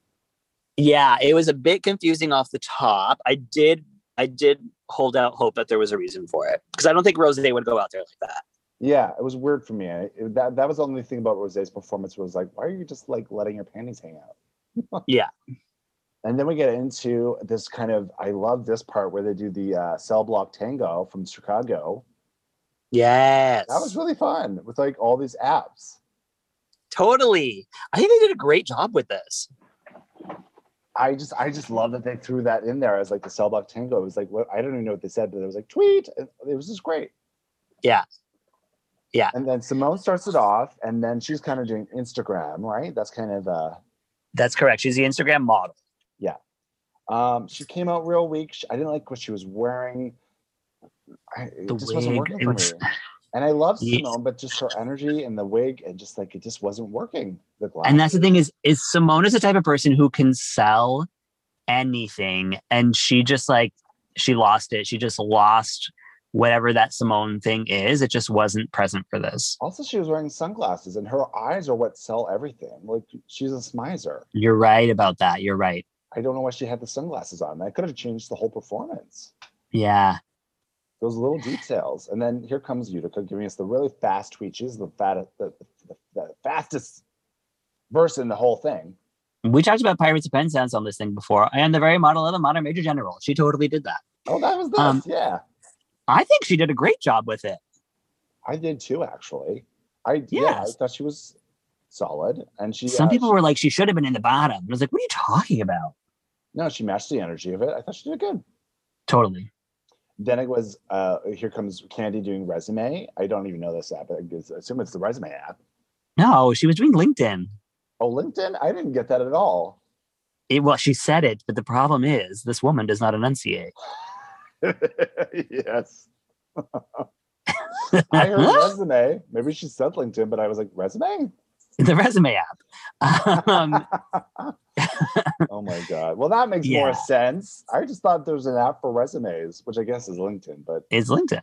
B: Yeah, it was a bit confusing off the top. I did I did hold out hope that there was a reason for it because I don't think Rose Day would go out there like that.
A: Yeah, it was weird for me. I, it- that that was the only thing about Rose's performance was like, why are you just like letting your panties hang out?
B: Yeah.
A: And then we get into this kind of I love this part where they do the uh, cell block tango from Chicago.
B: Yes.
A: That was really fun with like all these apps.
B: totally. I think they did a great job with this.
A: I just I just love that they threw that in there as like the cell block tango. It was like what I don't even know what they said, but it was like tweet. and It was just great.
B: Yeah. Yeah.
A: And then Simone starts it off, and then she's kind of doing Instagram, right? That's kind of uh
B: That's correct. She's the Instagram model.
A: um she came out real weak. She- I didn't like what she was wearing. I, it
B: The
A: just wasn't
B: wig,
A: working
B: it
A: for
B: was-
A: me. And I love
B: Yes.
A: Simone, but just her energy and the wig and just like it just wasn't working. The
B: And that's the
A: glasses.
B: thing is is Simona's the type of person who can sell anything and she just like she lost it. She just lost whatever that Simone thing is. It just wasn't present for this.
A: Also, she was wearing sunglasses, and her eyes are what sell everything. Like she's a smizer.
B: You're right about that. You're right.
A: I don't know why she had the sunglasses on. That could have changed the whole performance.
B: Yeah.
A: those little details. And then here comes Utica giving us the really fast tweet. She's the, fat, the, the, the fastest verse in the whole thing.
B: We talked about Pirates of Penzance on this thing before, and the very model of a modern major general. She totally did that.
A: Oh, that was this.
B: Um,
A: yeah.
B: I think she did a great job with it.
A: I did too, actually. I yeah, I
B: Yes.
A: thought she was solid. And she
B: Some
A: uh,
B: people
A: she-
B: were like, she should have been in the bottom. And I was like, what are you talking about?
A: no, she matched the energy of it. I thought she did good.
B: Totally.
A: Then it was uh here comes Candy doing resume. I don't even know this app, but I guess- assume it's the resume app.
B: No, she was doing LinkedIn.
A: Oh, LinkedIn? I didn't get that at all.
B: It, well, she said it, but the problem is this woman does not enunciate.
A: yes. I heard resume. Maybe she said LinkedIn, but I was like, resume?
B: the resume app. Um,
A: Oh my God. Well, that makes
B: Yeah.
A: more sense. I just thought there was an app for resumes, which I guess is LinkedIn, but
B: is LinkedIn.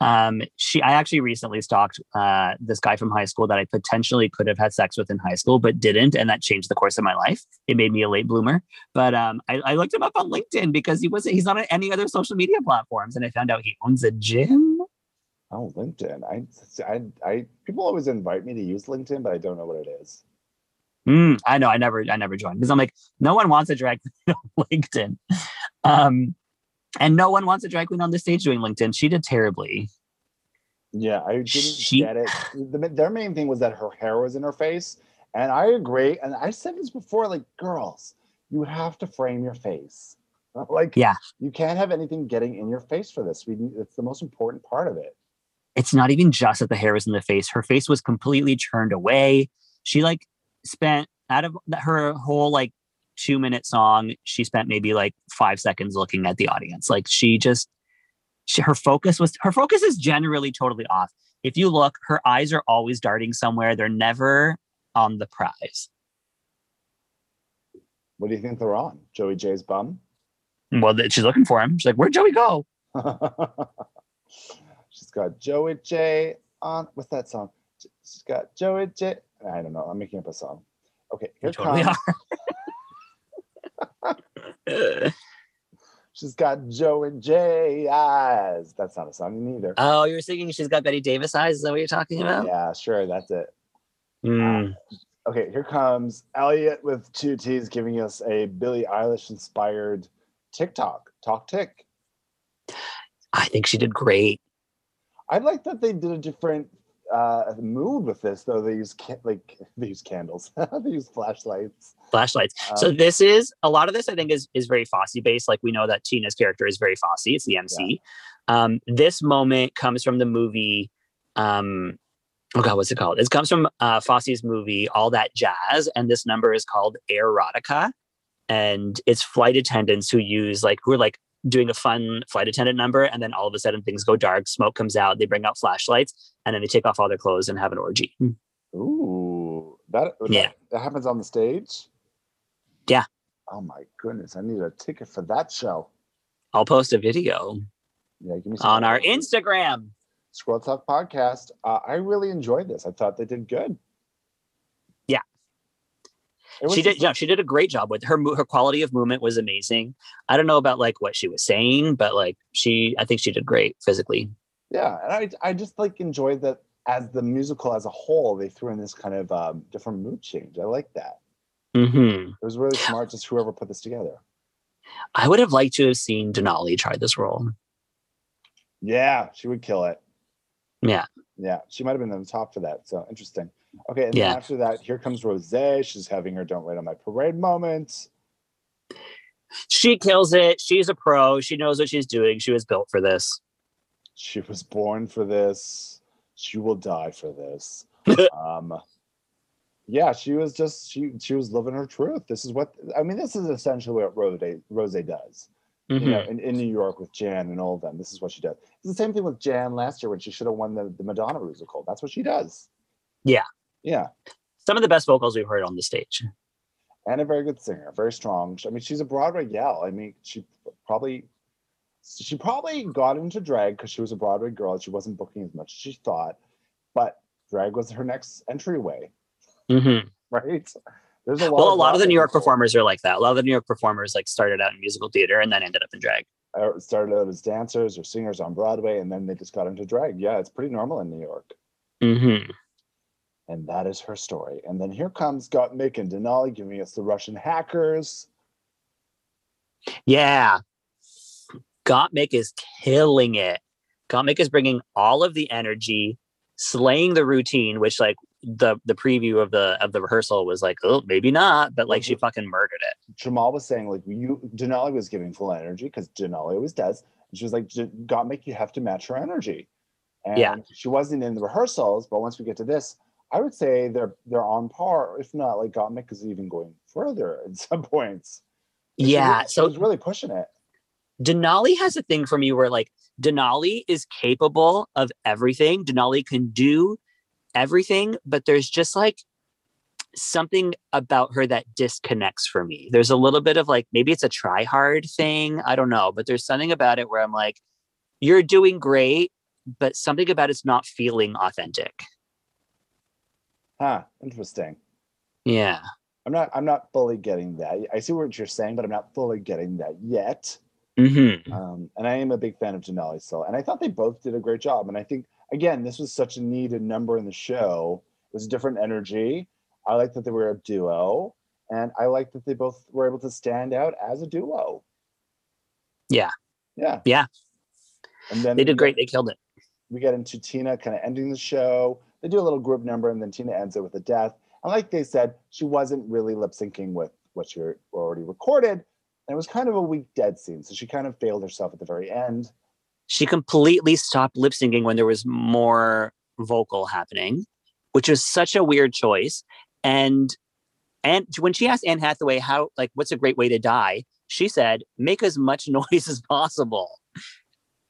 B: Um, she, I actually recently stalked uh, this guy from high school that I potentially could have had sex with in high school, but didn't, and that changed the course of my life. It made me a late bloomer. But um, I, I looked him up on LinkedIn because he wasn't. He's not on any other social media platforms, and I found out he owns a gym.
A: Oh, LinkedIn. I, see, I, I, people always invite me to use LinkedIn, but I don't know what it is.
B: Mm, I know. I never. I never joined because I'm like, no one wants a drag queen on LinkedIn, um, and no one wants a drag queen on the stage doing LinkedIn. She did terribly.
A: Yeah, I didn't
B: She-
A: get it. The, their main thing was that her hair was in her face, and I agree. And I said this before, like, girls, you have to frame your face. Like,
B: Yeah.
A: you can't have anything getting in your face for this. We, it's the most important part of it.
B: it's not even just that the hair was in the face. Her face was completely turned away. She like spent out of th- her whole like two minute song, she spent maybe like five seconds looking at the audience. Like she just, she, her focus was, her focus is generally totally off. If you look, her eyes are always darting somewhere. They're never on the prize.
A: What do you think they're on? Joey J's bum?
B: Well, th- she's looking for him. She's like, where'd Joey go?
A: She's got Joey J on. What's that song? She's got Joey J. I don't know. I'm making up a song. Okay, here
B: You totally
A: comes.
B: are.
A: She's got Joey J eyes. That's not a song either.
B: oh, you were singing She's Got Betty Davis Eyes. Is that what you're talking about?
A: yeah, sure. That's it.
B: Mm.
A: Okay, here comes Elliot with two T's giving us a Billie Eilish inspired TikTok. Talk tick.
B: I think she did great.
A: I like that they did a different uh mood with this though. They use ca- like they use candles. they use flashlights.
B: Flashlights. so
A: Um,
B: this is a lot of this. I think is is very Fosse based. Like we know that Tina's character is very Fosse. It's the MC. Um, this moment comes from the movie. Um, oh God, what's it called? It comes from uh, Fosse's movie All That Jazz, and this number is called Erotica, and it's flight attendants who use like who are like doing a fun flight attendant number, and then all of a sudden things go dark, smoke comes out, they bring out flashlights, and then they take off all their clothes and have an orgy.
A: Ooh, that
B: Yeah.
A: that happens on the stage.
B: Yeah.
A: Oh my goodness, I need a ticket for that show.
B: I'll post a video
A: Yeah, give me some
B: on our
A: ideas.
B: Instagram.
A: Scroll Talk podcast. Uh, I really enjoyed this. I thought they did good.
B: Yeah.
A: It was
B: she did
A: just-
B: no she did a great job with her mo- her quality of movement was amazing i don't know about like what she was saying but like she i think she did great physically
A: yeah, and I I just like enjoyed that as the musical as a whole. They threw in this kind of um, different mood change. I like that.
B: hmm
A: It was really smart. Just whoever put this together.
B: i would have liked to have seen denali try this role
A: Yeah, she would kill it.
B: Yeah.
A: Yeah, she might have been on the top for that. So interesting. Okay, and
B: Yeah.
A: then after that, here comes Rose. She's having her "Don't Wait on My Parade" moment.
B: she kills it she's a pro she knows what she's doing she was built for this
A: She was born for this. She will die for this. um, yeah, she was just she she was living her truth. This is what I mean. This is essentially what Rose Rose does. You know,
B: Mhm.
A: in, in New York with Jan and all of them. This is what she does. It's the same thing with Jan last year when she should have won the, the Madonna musical. That's what she does.
B: Yeah.
A: Yeah.
B: some of the best vocals we've heard on the stage
A: and a very good singer, very strong. She- I mean, she's a Broadway gal. I mean, she probably she probably got into drag because she was a Broadway girl. and She wasn't booking as much as she thought, but drag was her next entryway,
B: Mhm.
A: Mm-hmm. right? There's a lot.
B: well a lot of the
A: Broadway
B: new york
A: people-
B: performers are like that a lot of the new york performers like started out in musical theater and then ended up in drag
A: uh, started out as dancers or singers on Broadway, and then they just got into drag. Yeah, it's pretty normal in New York.
B: Mm-hmm.
A: And that is her story. And then here comes Got Mick and Denali giving us the Russian hackers.
B: Yeah. Gottmik is killing it. Gottmik is bringing all of the energy, slaying the routine, which like the the preview of the of the rehearsal was like, oh, maybe not, but like she
A: Mm-hmm.
B: fucking murdered it.
A: Jamal was saying, like, you, Denali was giving full energy because Denali always does. And she was like, "J- Gottmik, you have to match her energy. And
B: Yeah.
A: she wasn't in the rehearsals, but once we get to this, I would say they're they're on par, if not like Gottmik is even going further at some points. She
B: Yeah.
A: was- she
B: So
A: was really pushing it.
B: Denali has a thing for me where like Denali is capable of everything. Denali can do everything, but there's just like something about her that disconnects for me. There's a little bit of like maybe it's a try hard thing. I don't know, but there's something about it where I'm like, you're doing great, but something about it's not feeling authentic.
A: Huh. Interesting.
B: Yeah.
A: I'm not I'm not fully getting that. I see what you're saying, but I'm not fully getting that yet.
B: Mm-hmm.
A: Um, and I am a big fan of Denali still. And I thought they both did a great job. And I think again, this was such a needed number in the show. It was a different energy. I like that they were a duo, and I like that they both were able to stand out as a duo.
B: Yeah.
A: Yeah.
B: Yeah.
A: And then
B: They did great. They killed it.
A: we get into Tina kind of ending the show. They do a little group number, and then Tina ends it with a death. And like they said, she wasn't really lip syncing with what she already recorded. And it was kind of a weak dead scene. So she kind of failed herself at the very end.
B: she completely stopped lip syncing when there was more vocal happening, which was such a weird choice. And and when she asked Anne Hathaway how like what's a great way to die, she said, make as much noise as possible.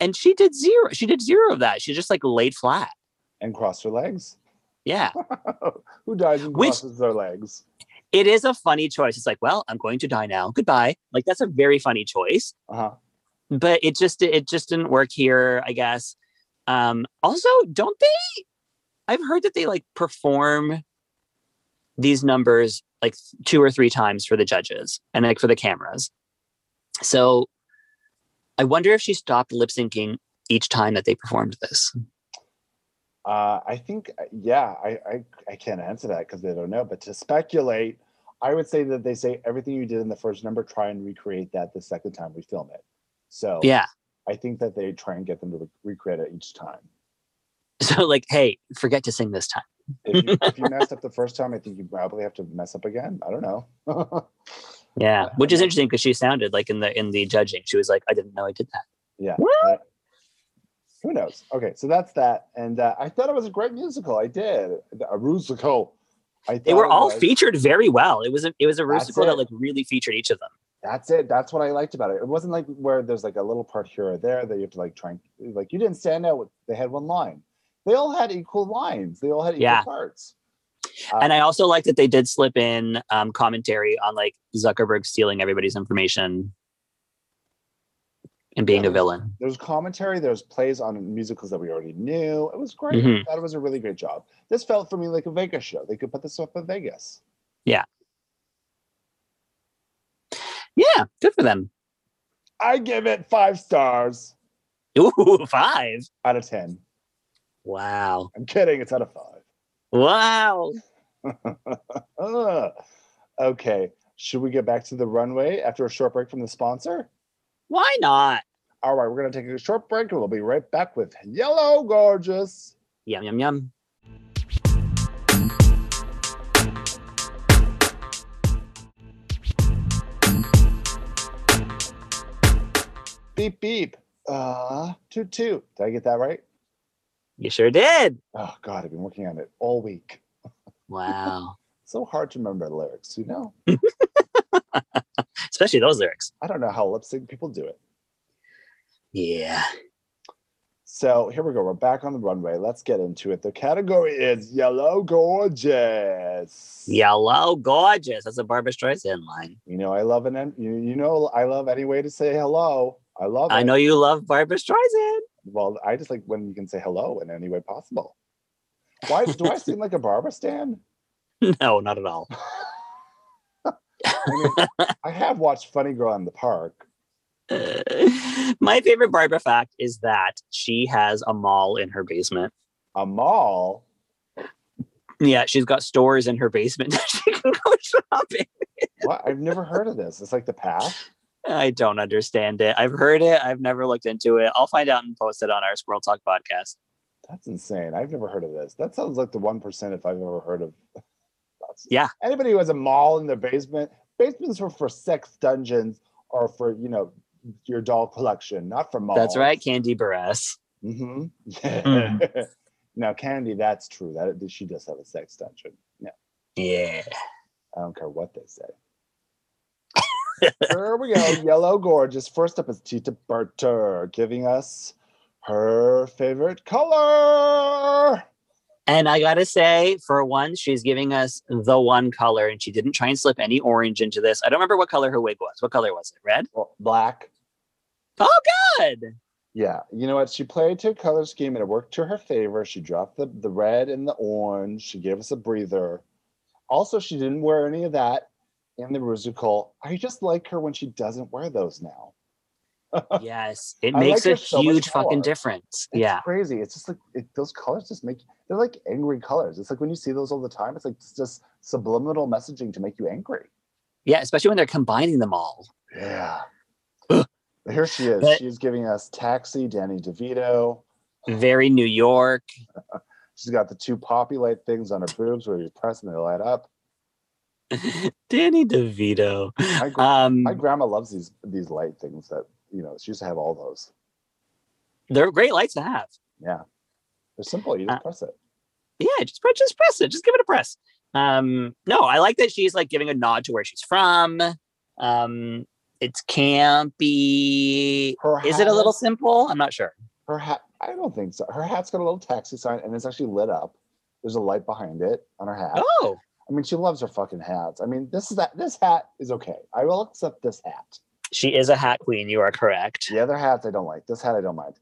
B: And she did zero. She did zero of that. She just like laid flat.
A: And crossed her legs.
B: Yeah.
A: Who dies and
B: Which-
A: crosses their legs?
B: It is a funny choice. It's like, well, I'm going to die now. Goodbye. Like that's a very funny choice.
A: Uh huh.
B: But it just it just didn't work here, I guess. Um, also, don't they? I've heard that they like perform these numbers like two or three times for the judges and like for the cameras. So I wonder if she stopped lip syncing each time that they performed this.
A: Uh, I think, yeah, I, I, I can't answer that because they don't know. But to speculate, I would say that they say everything you did in the first number, try and recreate that the second time we film it. So
B: Yeah.
A: I think that they try and get them to re- recreate it each time.
B: So like, hey, forget to sing this time.
A: if you, if you messed up the first time, I think you probably have to mess up again. I don't know.
B: Yeah.
A: I-
B: Which
A: I
B: is
A: know.
B: interesting because she sounded like in the in the judging, she was like, I didn't know I did that.
A: yeah.
B: Woo!
A: Uh, who knows? Okay, so that's that. And uh, I thought it was a great musical. I did a musical. I
B: They
A: thought
B: were
A: it
B: all
A: was.
B: featured very well. It was a it was a
A: That's
B: musical
A: it.
B: that like really featured each of them.
A: That's it. That's what I liked about it. It wasn't like where there's like a little part here or there that you have to like try and like you didn't stand out. With, they had one line. They all had equal lines. They all had equal
B: Yeah.
A: parts.
B: and I also like that they did slip in um, commentary on like Zuckerberg stealing everybody's information and being a villain.
A: There's commentary, there's plays on musicals that we already knew. It was great. I
B: Mhm.
A: thought it was a really great job. This felt for me like a Vegas show. They could put this up in Vegas.
B: Yeah, good for them.
A: I give it five stars
B: Ooh, five.
A: out of 10.
B: Wow.
A: I'm kidding. It's out of five.
B: Wow.
A: Ugh. Okay. Should we get back to the runway after a short break from the sponsor?
B: Why not?
A: All right. We're going to take a short break and we'll be right back with Yellow Gorgeous.
B: Yum, yum, yum.
A: Beep, beep. Uh, toot, toot. Did I get that right?
B: You sure did.
A: Oh, God. I've been working on it all week.
B: Wow.
A: So hard to remember lyrics, you know?
B: Especially those lyrics.
A: I don't know how lip sync people do it.
B: Yeah.
A: So here we go. We're back on the runway. Let's get into it. The category is Yellow Gorgeous.
B: Yellow, gorgeous. That's a Barbara Streisand line.
A: You know, I love an, em- you, you know, I love any way to say hello. I love
B: I
A: it.
B: know you love Barbara Streisand.
A: Well, I just like when you can say hello in any way possible. Why do I seem like a Barbara Stan?
B: No, not at all.
A: I mean, I have watched Funny Girl in the Park.
B: My favorite Barbara fact is that she has a mall in her basement.
A: A mall.
B: Yeah, she's got stores in her basement that she can go shopping.
A: What? I've never heard of this. It's like the path.
B: I don't understand it. I've heard it. I've never looked into it. I'll find out and post it on our Squirrel Talk podcast.
A: That's insane. I've never heard of this. That sounds like the one percent if I've ever heard of. That's-
B: Yeah.
A: Anybody who has a mall in their basement, basements were for sex dungeons or for you know your doll collection, not for malls.
B: That's right, Candy Barres.
A: Mm-hmm. now, Candy, that's true. That that she does have a sex dungeon. Yeah,
B: Yeah.
A: I don't care what they say. Here we go. Yellow Gorgeous. First up is Tita Barter giving us her favorite color.
B: And I gotta say, for one, she's giving us the one color, and she didn't try and slip any orange into this. I don't remember what color her wig was. What color was it? Red?
A: Well, black.
B: Oh, good.
A: Yeah, you know what? She played to a color scheme and it worked to her favor. She dropped the, the red and the orange. She gave us a breather. Also, she didn't wear any of that in the musical. I just like her when she doesn't wear those now.
B: Yes, it
A: I
B: makes
A: like her
B: a
A: so much
B: huge
A: more.
B: fucking difference.
A: It's
B: yeah,
A: crazy. It's just like it, those colors just make they're like angry colors. It's like when you see those all the time, it's like it's just subliminal messaging to make you angry.
B: yeah, especially when they're combining them all.
A: Yeah. Here she is.
B: But-
A: She's giving us Taxi, Danny DeVito.
B: Very New York.
A: She's got the two poppy light things on her boobs where you press and they light up.
B: Danny DeVito.
A: My, gr-
B: Um,
A: my grandma loves these these light things that you know she used to have all those.
B: they're great lights to have.
A: Yeah, they're simple.
B: Uh,
A: You just press it.
B: Yeah, just press, just press it. Just give it a press. Um, no, I like that she's like giving a nod to where she's from. Um, it's campy.
A: Her
B: Is it a little
A: hat-
B: simple? I'm not sure.
A: Her hat. I don't think so. Her hat's got a little taxi sign and it's actually lit up. There's a light behind it on her hat.
B: Oh,
A: I mean, she loves her fucking hats. I mean, this is that. This hat is okay. I will accept this hat.
B: she is a hat queen. You are correct.
A: The other hats I don't like. This hat I don't mind.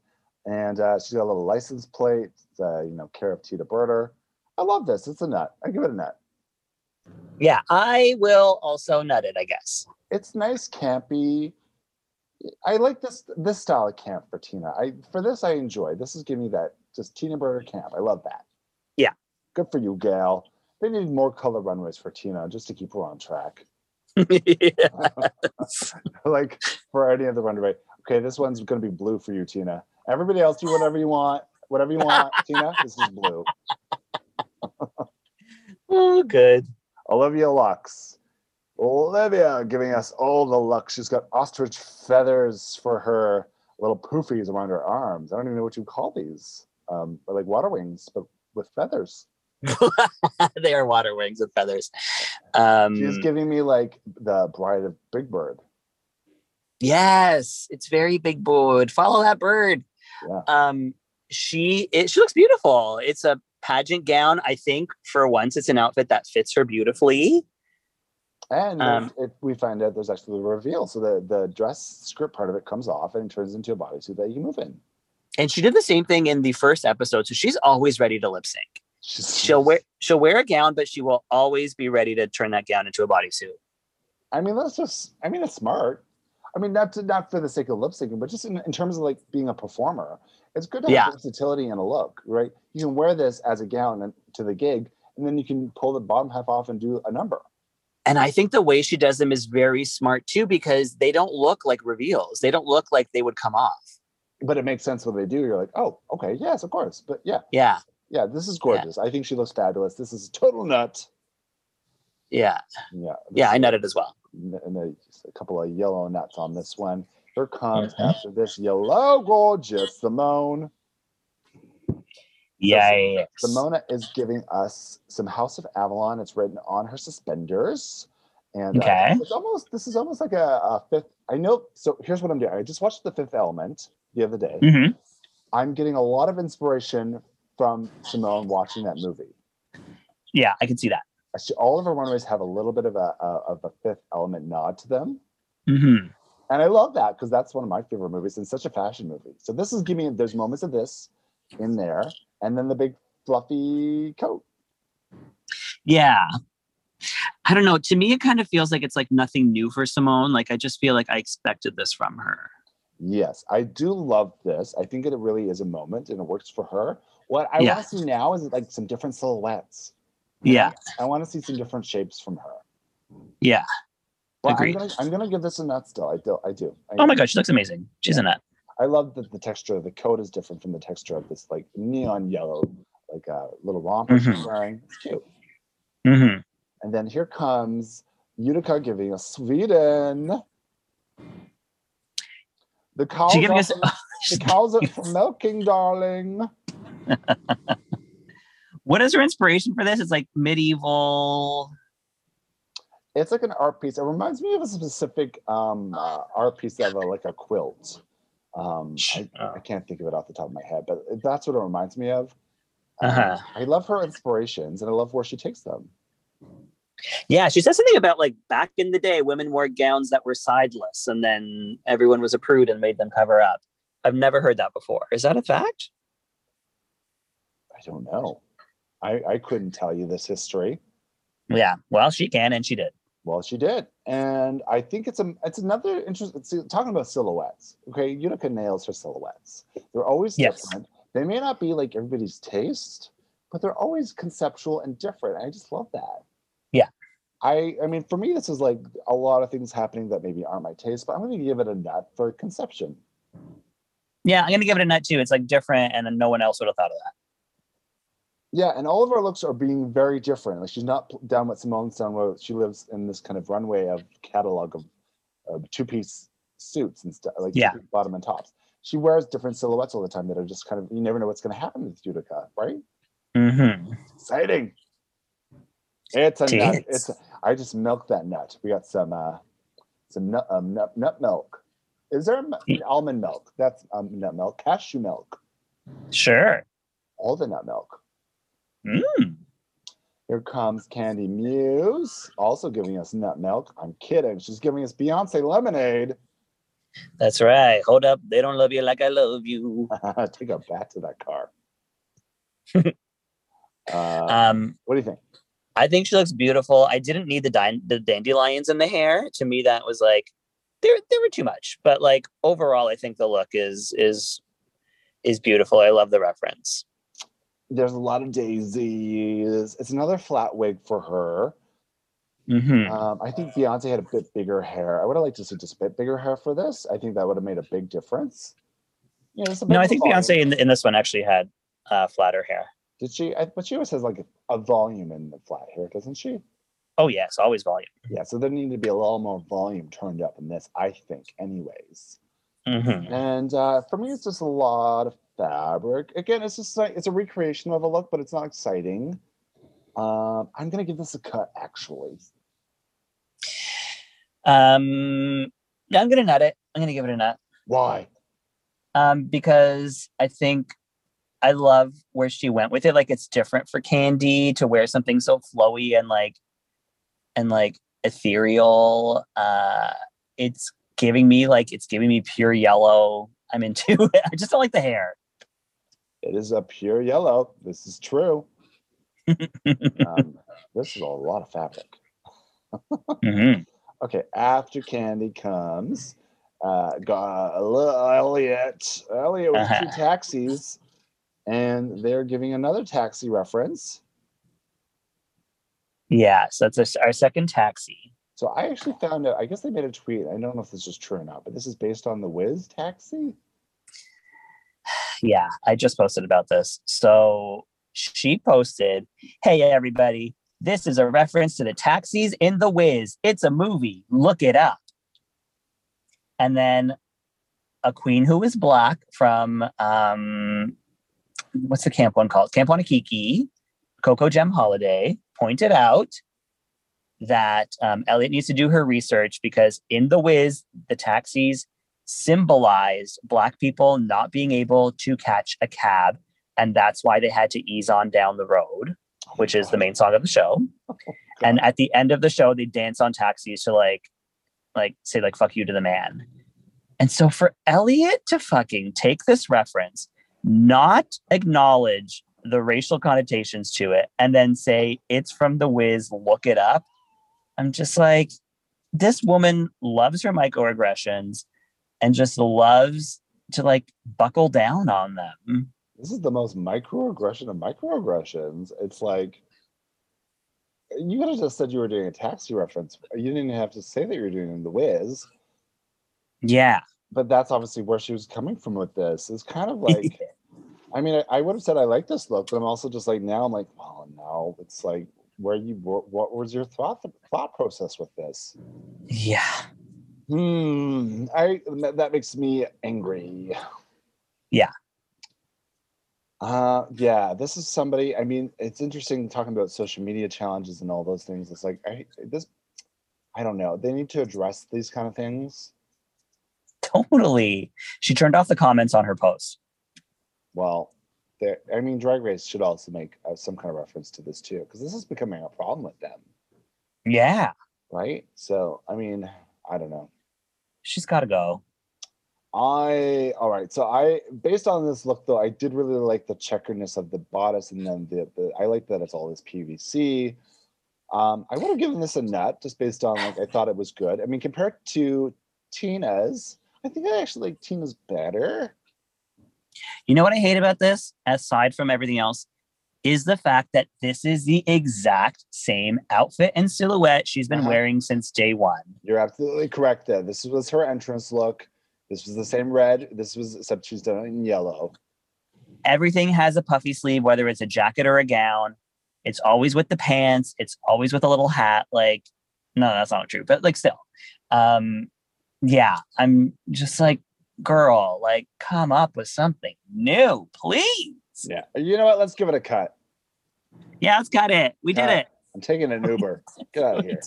A: And uh, she's got a little license plate. Uh, you know, care of Tita Berter. I love this. It's a nut. I give it a nut.
B: Yeah, I will also nut it, I guess.
A: it's nice campy. I like this this style of camp for Tina. I for this I enjoy. This is giving me that just Tina Burger camp. I love that.
B: Yeah.
A: Good for you, Gal. They need more color runways for Tina just to keep her on track. like for any other runway. Okay, this one's gonna be blue for you, Tina. Everybody else do whatever you want. Whatever you want, Tina. This is blue.
B: oh, good.
A: Olivia Lux. Olivia giving us all the luck. She's got ostrich feathers for her little poofies around her arms. I don't even know what you call these. Um, they're like water wings, but with feathers.
B: they are water wings with feathers. Um,
A: She's giving me like the bride of Big Bird.
B: Yes, it's very big bird. Follow that bird.
A: Yeah.
B: Um, she it, she looks beautiful. It's a pageant gown. I think for once, it's an outfit that fits her beautifully.
A: And
B: Um,
A: if we find out there's actually a reveal. So the, the dress skirt part of it comes off and it turns into a bodysuit that you move in.
B: And she did the same thing in the first episode, so she's always ready to lip sync.
A: She's-
B: She'll wear she'll wear a gown, but she will always be ready to turn that gown into a bodysuit.
A: I mean, that's just. I mean, it's smart. I mean, not to, not for the sake of lip syncing, but just in, in terms of like being a performer, it's good to have
B: Yeah.
A: versatility in a look, right? You can wear this as a gown and, to the gig, and then you can pull the bottom half off and do a number.
B: And I think the way she does them is very smart too, because they don't look like reveals. They don't look like they would come off.
A: But it makes sense when they do. You're like, oh, okay, yes, of course. But yeah,
B: Yeah.
A: yeah, this is gorgeous. I think she looks fabulous. This is a total nut.
B: Yeah.
A: Yeah, this
B: Yeah. I
A: is-
B: nutted as well.
A: n- and a, just a couple of yellow nuts on this one. Here comes after this yellow gorgeous Simone.
B: Yikes.
A: Simona is giving us some House of Avalon. It's written on her suspenders. And uh,
B: Okay.
A: it's almost this is almost like a, a fifth. I know. So here's what I'm doing. I just watched The Fifth Element the other day.
B: Mhm.
A: I'm getting a lot of inspiration from Simone watching that movie.
B: Yeah, I can see that.
A: She, all of her runways have a little bit of a, a of a Fifth Element nod to them,
B: Mm-hmm.
A: and I love that because that's one of my favorite movies and such a fashion movie. So this is giving there's moments of this in there, and then the big fluffy coat.
B: Yeah. I don't know. To me, it kind of feels like it's like nothing new for Simone. Like I just feel like I expected this from her.
A: Yes, I do love this. I think it really is a moment and it works for her. What I
B: Yeah.
A: want to see now is like some different silhouettes.
B: Yeah.
A: I want to see some different shapes from her.
B: Yeah.
A: But I'm
B: Agreed.
A: gonna, I'm gonna give this a nut still. I do. I do. I,
B: Oh my god, she looks amazing. She's in that.
A: I love that the texture of the coat is different from the texture of this like neon yellow, like a uh, little romper she's
B: Mhm.
A: wearing. It's cute.
B: Mm-hmm.
A: And then here comes Utica giving us Sweden. The cows,
B: She giving
A: are
B: us-
A: for- the cows are for milking, darling.
B: What is her inspiration for this? It's like medieval.
A: It's like an art piece. It reminds me of a specific um, uh, art piece of a, like a quilt. Um, I,
B: uh,
A: I can't think of it off the top of my head, but that's what it reminds me of. Um,
B: Uh-huh.
A: I love her inspirations and I love where she takes them.
B: Yeah, she says something about like back in the day, women wore gowns that were sideless, and then everyone was a prude and made them cover up. I've never heard that before. Is that a fact?
A: I don't know. I, I couldn't tell you this history.
B: Yeah. Well, she can, and she did.
A: Well, she did, and I think it's a it's another interesting. It's talking about silhouettes. Okay, Utica nails her silhouettes. They're always
B: Yes.
A: different. They may not be like everybody's taste, but they're always conceptual and different. I just love that.
B: Yeah.
A: I I mean, for me, this is like a lot of things happening that maybe aren't my taste, but I'm going to give it a nut for conception.
B: Yeah, I'm gonna give it a nut too. It's like different, and then no one else would have thought of that.
A: Yeah, and all of our looks are being very different. Like she's not pl- down what Simone's done, where she lives in this kind of runway of catalog of, of two piece suits and stuff, like
B: Yeah.
A: two-piece bottom and tops. She wears different silhouettes all the time that are just kind of you never know what's going to happen with Utica, right?
B: Mm-hmm.
A: Exciting. It's a nut.
B: Tits.
A: It's a, I just milked that nut. We got some uh some nut um, nut, nut milk. Is there m-
B: Ye-
A: almond milk? That's um, nut milk, cashew milk,
B: Sure.
A: all the nut milk.
B: Mm.
A: Here comes Candy Muse, also giving us nut milk. I'm kidding. She's giving us Beyonce lemonade.
B: That's right. Hold up. They don't love you like I love you.
A: Take a bat to that car. uh,
B: Um,
A: what do you think?
B: I think she looks beautiful. I didn't need the din- the dandelions in the hair. To me, that was like they were- they were too much. But like overall, I think the look is is is beautiful. I love the reference.
A: There's a lot of daisies. It's another flat wig for her.
B: Mm-hmm.
A: Um, I think Beyonce had a bit bigger hair. I would have liked to see just a bit bigger hair for this. I think that would have made a big difference. Yeah, there's a bit
B: No, I
A: of
B: think
A: volume.
B: Beyonce in, in this one actually had uh, flatter hair.
A: Did she? I, but she always has like a, a volume in the flat hair, doesn't she?
B: Oh yes, always volume.
A: Yeah, so there needed to be a lot more volume turned up in this, I think, anyways.
B: Mm-hmm.
A: And uh, for me, it's just a lot of fabric. Again, it's just like it's a recreation of a look, but it's not exciting. Um, I'm gonna give this a cut, actually.
B: Um, yeah, I'm gonna nut it. I'm gonna give it a nut.
A: Why?
B: um, because I think I love where she went with it. Like it's different for Candy to wear something so flowy and like and like ethereal. Uh, it's giving me like it's giving me pure yellow. I'm into it. I just don't like the hair.
A: It is a pure yellow. This is true. um, this is a lot of fabric.
B: Mhm.
A: Okay, after Candy comes, uh, got Elliot. Elliot with two
B: Uh-huh.
A: taxis, and they're giving another taxi reference.
B: Yeah, so that's our s- our second taxi.
A: So I actually found out. I guess they made a tweet. I don't know if this is true or not, but this is based on the Wiz taxi.
B: Yeah, I just posted about this. So she posted, Hey, everybody, this is a reference to the taxis in The Wiz. It's a movie. Look it up. And then a queen who is black from, um, what's the camp one called? Camp Wanakiki, Coco Gem Holiday, pointed out that um, Elliot needs to do her research because in The Wiz, the taxis symbolized black people not being able to catch a cab and that's why they had to ease on down the road which is the main song of the show and at the end of the show they dance on taxis to like like say like fuck you to the man and so for elliot to fucking take this reference not acknowledge the racial connotations to it and then say it's from the whiz look it up i'm just like this woman loves her microaggressions and just loves to like buckle down on them.
A: This is the most microaggression of microaggressions. It's like you could have just said you were doing a taxi reference. You didn't even have to say that you were doing the whiz.
B: Yeah.
A: But that's obviously where she was coming from with this. It's kind of like I mean, I, I would have said I like this look, but I'm also just like now I'm like, oh no, it's like where you what, what was your thought thought process with this?
B: Yeah.
A: Hmm. I that makes me angry.
B: Yeah.
A: Uh yeah, this is somebody. I mean, it's interesting talking about social media challenges and all those things. It's like I this I don't know. They need to address these kind of things.
B: Totally. She turned off the comments on her post.
A: Well, there I mean Drag Race should also make uh, some kind of reference to this too because this is becoming a problem with them,
B: Yeah.
A: right? So, I mean, I don't know.
B: She's gotta go.
A: I all right. So I based on this look though, I did really like the checkerness of the bodice and then the, the I like that it's all this PVC. Um, I would have given this a nut just based on like I thought it was good. I mean, compared to Tina's, I think I actually like Tina's better.
B: You know what I hate about this, aside from everything else, is the fact that this is the exact same outfit and silhouette she's been
A: Uh-huh.
B: wearing since day one.
A: You're absolutely correct there. This was her entrance look. This was the same red. This was except she's done it in yellow.
B: Everything has a puffy sleeve, whether it's a jacket or a gown. It's always with the pants, it's always with a little hat. Like, no, that's not true, but like still. Um, yeah, I'm just like, girl, like, come up with something new, please.
A: Yeah. You know what? Let's give it a cut.
B: Yeah, let's cut it. We did
A: Cut.
B: it.
A: I'm taking an Uber. Get out of here.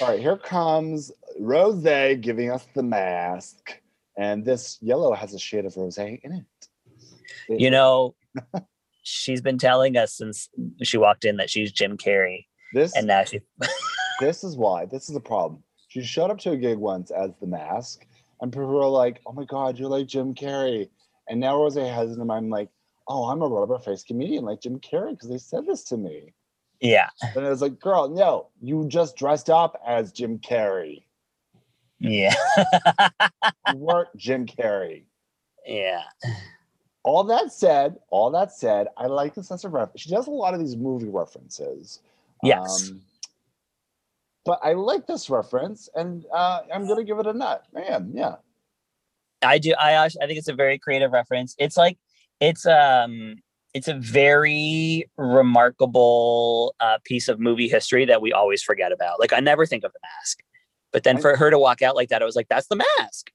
A: All right, here comes Rose giving us the mask. And this yellow has a shade of rose in it.
B: You know, she's been telling us since she walked in that she's Jim Carrey,
A: This
B: and now she.
A: this is why. This is a problem. She showed up to a gig once as the mask, and people were like, Oh my god, you're like Jim Carrey. And now Rose has it in her mind like, oh, I'm a rubber faced comedian like Jim Carrey, because they said this to me.
B: Yeah,
A: And I was like, girl, no, you just dressed up as Jim Carrey.
B: yeah,
A: You weren't Jim Carrey.
B: yeah.
A: All that said, all that said, I like the sense of reference. She does a lot of these movie references.
B: Yes.
A: Um, but I like this reference, and uh, I'm gonna give it a nut. Man, yeah,
B: I do. I act- I think it's a very creative reference. It's like it's um it's a very remarkable uh, piece of movie history that we always forget about. Like I never think of the mask, but then
A: I-
B: for her to walk out like that, I was like, that's the mask.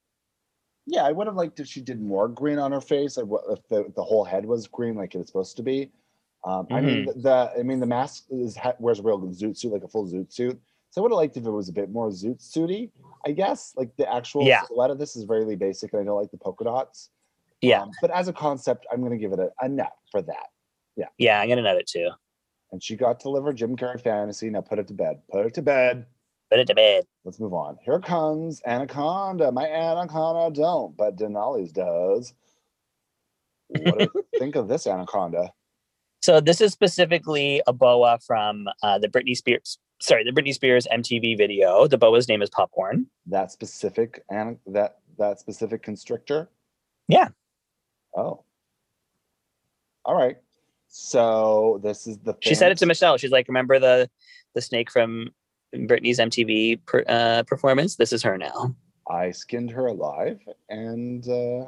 A: yeah. I would have liked if she did more green on her face, like what- if the, the whole head was green, like it's supposed to be. Um, I mean,
B: Mm-hmm.
A: the, I mean, the mask is ha- wears a real zoot suit, like a full zoot suit. So I would have liked if it was a bit more zoot suity. I guess like the actual
B: Yeah.
A: silhouette of this is very basic, and I don't like the polka dots.
B: Yeah,
A: Um, but as a concept, I'm going to give it a, a nut for that.
B: yeah. I'm gonna note it too.
A: And she got to live her Jim Carrey fantasy. Now put it to bed. Put it to bed.
B: Put it to bed.
A: Let's move on. Here comes Anaconda. My Anaconda don't, but Denali's does. What do you think of this Anaconda?
B: So this is specifically a boa from uh, the Britney Spears, sorry, the Britney Spears MTV video. The boa's name is Popcorn.
A: That specific ana- that that specific constrictor?
B: Yeah.
A: Oh. All right. So this is the
B: She said it to
A: famous-
B: Michelle. She's like, "Remember the the snake from Britney's MTV per, uh, performance? This is her now."
A: I skinned her alive, and uh,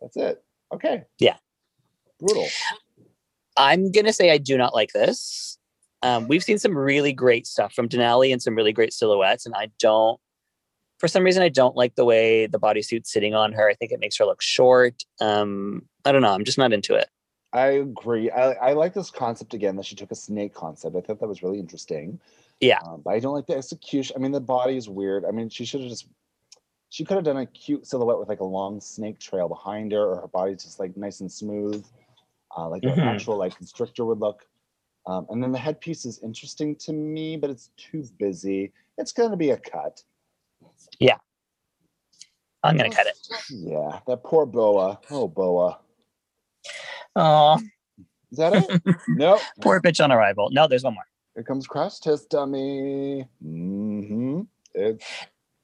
A: that's it. Okay.
B: Yeah.
A: Brutal.
B: I'm gonna say I do not like this. Um, we've seen some really great stuff from Denali and some really great silhouettes, and I don't. For some reason, I don't like the way the bodysuit's sitting on her. I think it makes her look short. Um, I don't know. I'm just not into it.
A: I agree. I, I like this concept again that she took a snake concept. I thought that was really interesting.
B: Yeah.
A: Um, but I don't like the execution. I mean, the body is weird. I mean, she should have just, she could have done a cute silhouette with like a long snake trail behind her, or her body's just like nice and smooth, uh, like
B: Mhm.
A: an actual like constrictor would look. Um, and then the headpiece is interesting to me, but it's too busy. It's going to be a cut.
B: I'm gonna cut it.
A: Yeah. That poor boa. Oh, boa.
B: Oh,
A: Is that it? nope.
B: poor bitch on arrival. No, there's one more.
A: Here comes crash test dummy. Mm-hmm. It's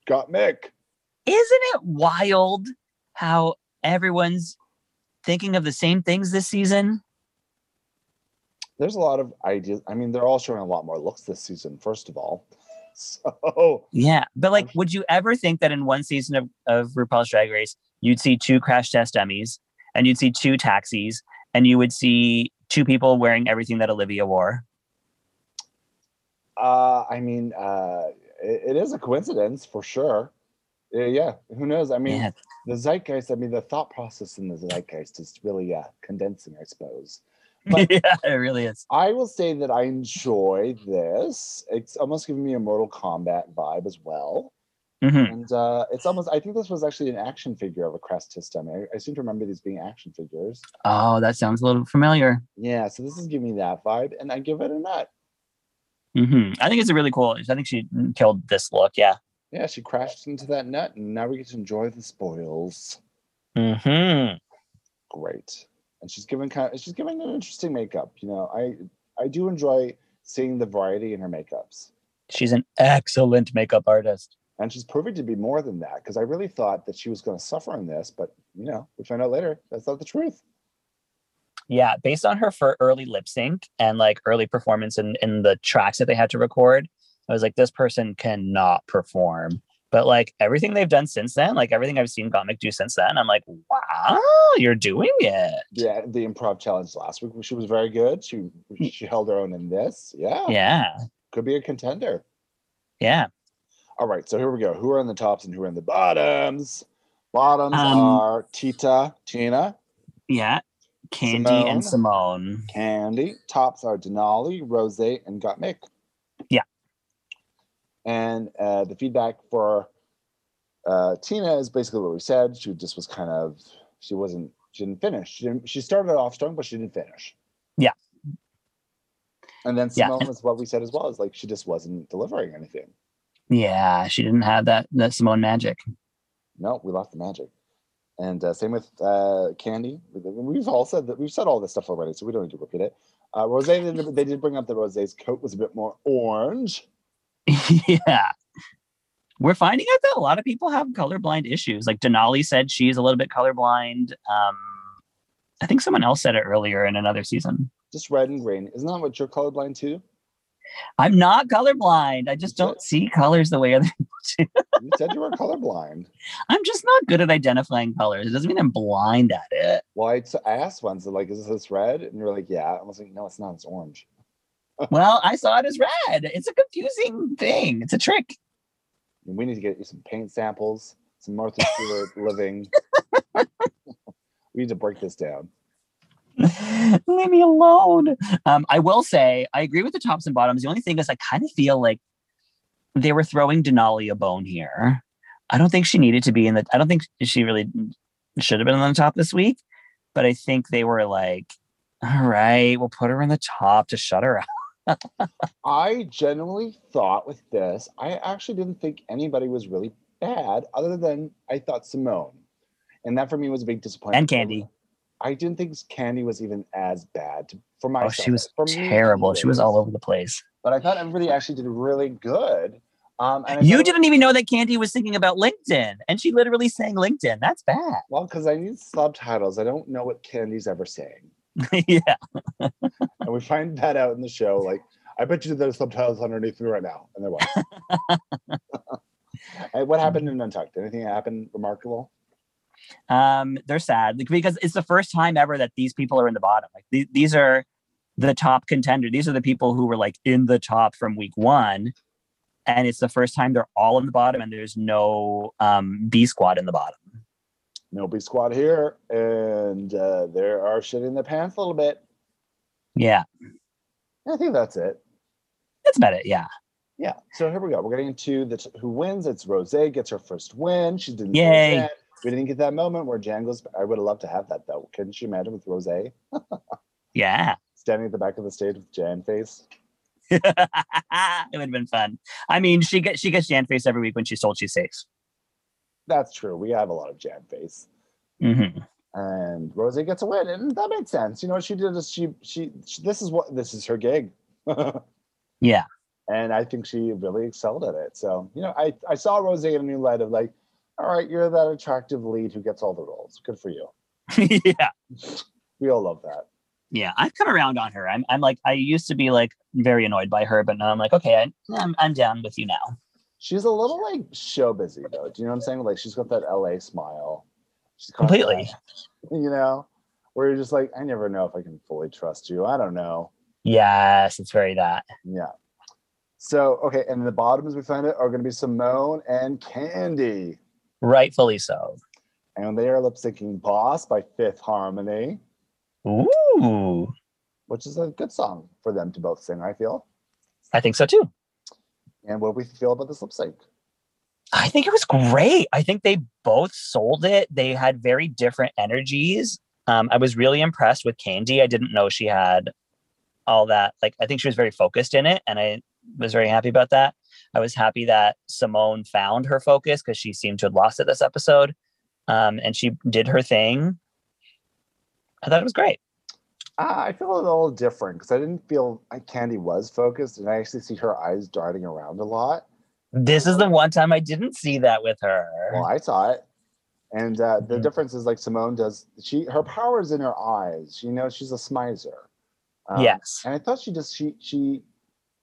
A: got Mick.
B: Isn't it wild how everyone's thinking of the same things this season?
A: There's a lot of ideas. I mean, they're all showing a lot more looks this season, first of all. So
B: Yeah. But like, would you ever think that in one season of, of RuPaul's Drag Race, you'd see two crash test dummies and you'd see two taxis and you would see two people wearing everything that Olivia wore?
A: uh, I mean, uh, it, it is a coincidence for sure. Yeah, yeah. Who knows? I mean,
B: Yeah.
A: the zeitgeist. I mean, the thought process in the zeitgeist is really uh, condensing, I suppose.
B: yeah, it really is.
A: I will say that I enjoy this. It's almost giving me a Mortal Kombat vibe as well.
B: hmm
A: And uh, it's almost, I think this was actually an action figure of a Crestus dummy. I, I seem to remember these being action figures.
B: Oh, that sounds a little familiar.
A: Yeah, so this is giving me that vibe, and I give it a nut.
B: hmm I think it's a really cool. I think she killed this look. Yeah.
A: Yeah, she crashed into that nut, and now we get to enjoy the spoils.
B: Mm-hmm.
A: Great. And she's giving kind of, she's giving an interesting makeup. You know, I I do enjoy seeing the variety in her makeups.
B: She's an excellent makeup artist.
A: And she's proving to be more than that because I really thought that she was going to suffer in this, but you know, we find out later that's not the truth.
B: Yeah, based on her for early lip sync and like early performance in, in the tracks that they had to record, I was like, this person cannot perform. But like everything they've done since then, like everything I've seen Gomic do since then, I'm like, wow, you're doing it.
A: Yeah, the improv challenge last week, she was very good. She she held her own in this. Yeah,
B: Yeah.
A: could be a contender.
B: Yeah.
A: All right, so here we go. Who are in the tops and who are in the bottoms? Bottoms
B: Um,
A: are Tita, Tina,
B: Yeah. Candy and Simone.
A: Candy. Tops are Denali, Rose, and Got Mick.
B: Yeah.
A: And uh, the feedback for uh, Tina is basically what we said. She just was kind of, she wasn't, she didn't finish. She, didn't, she started off strong, but she didn't finish.
B: Yeah.
A: And then
B: Yeah.
A: Simone is what we said as well. Is like she just wasn't delivering anything.
B: Yeah, she didn't have that that Simone magic.
A: no, we lost the magic. And uh, same with uh, Candy. We've all said that we've said all this stuff already, so we don't need to repeat it. Uh, Rose, they did, they did bring up that Rose's coat was a bit more orange.
B: yeah. We're finding out that a lot of people have colorblind issues. Like Denali said she's a little bit colorblind. Um I think someone else said it earlier in another season.
A: Just red and green. Isn't that what you're colorblind to?
B: I'm not colorblind. I just
A: That's
B: don't
A: it.
B: see colors the way other
A: You said you were colorblind.
B: I'm just not good at identifying colors. It doesn't mean I'm blind at it.
A: Well, I, t- I asked once, like, is this red? And you're like, yeah. I was like, no, it's not. It's orange.
B: Well, I saw it as red. It's a confusing thing. It's a trick.
A: And we need to get you some paint samples, some Martha Stewart living. we need to break this down.
B: Leave me alone. Um, I will say I agree with the tops and bottoms. The only thing is I kind of feel like they were throwing Denali a bone here. I don't think she needed to be in the I don't think she really should have been on the top this week, but I think they were like, all right, we'll put her in the top to shut her up.
A: I genuinely thought with this, I actually didn't think anybody was really bad, other than I thought Simone. And that for me was a big disappointment.
B: And Candy.
A: I didn't think Candy was even as bad to, for
B: Oh,
A: myself.
B: she was
A: for me,
B: terrible. She was all over the place.
A: But I thought everybody actually did really good. Um, and I
B: You
A: thought-
B: didn't even know that Candy was thinking about LinkedIn, and she literally sang LinkedIn. That's bad.
A: Well, because I need subtitles. I don't know what Candy's ever saying.
B: yeah.
A: And we find that out in the show. Like, I bet you there's subtitles underneath me right now. And there was. and what happened in Untucked? Anything happened remarkable?
B: Um, they're sad like, because it's the first time ever that these people are in the bottom. Like the- these are the top contender. These are the people who were like in the top from week one, and it's the first time they're all in the bottom, and there's no um, B squad in the bottom.
A: no big squad here, and uh, there are shit in the pants a little bit.
B: Yeah,
A: I think that's it.
B: that's about it. Yeah,
A: Yeah. So here we go. We're getting into the t- who wins. It's Rose gets her first win. She didn't. feel
B: Yay.
A: bad. We didn't get that moment where Jan goes. I would have loved to have that though. Couldn't you imagine with Rose
B: yeah,
A: standing at the back of the stage with Jan face?
B: it would have been fun. I mean, she gets she gets Jan face every week when she's told she's safe.
A: That's true. We have a lot of Jan face,
B: hmm
A: and Rose gets a win, and that made sense. You know, she did. This, she, she she. This is what this is her gig.
B: Yeah,
A: and I think she really excelled at it. So you know, I I saw Rose in a new light of like, all right, you're that attractive lead who gets all the roles. Good for you.
B: yeah.
A: We all love that.
B: Yeah. I've come around on her. I'm, I'm like, I used to be like very annoyed by her, but now I'm like, okay, I, I'm, I'm down with you now.
A: She's a little like show busy though. Do you know what I'm saying? Like she's got that LA smile. She's got
B: Completely.
A: that, you know, where you're just like, I never know if I can fully trust you. I don't know.
B: Yes. It's very that.
A: Yeah. So okay, and the bottoms we find it are going to be Simone and Candy,
B: Rightfully so.
A: and they are lip syncing "Boss" by Fifth Harmony,
B: Ooh.
A: which is a good song for them to both sing. I feel.
B: I think so too.
A: And what do we feel about this lip sync?
B: I think it was great. I think they both sold it. They had very different energies. Um, I was really impressed with Candy. I didn't know she had all that. Like, I think she was very focused in it, and I was very happy about that. I was happy that Simone found her focus because she seemed to have lost it this episode, um, and she did her thing. I thought it was great.
A: Ah, I feel a little different because I didn't feel I, Candy was focused, and I actually see her eyes darting around a lot.
B: This is the one time I didn't see that with her.
A: Well, I saw it, and uh, the
B: Mhm.
A: difference is like Simone does. She her power is in her eyes. You know, she's a smizer. Um,
B: yes.
A: and I thought she just she she.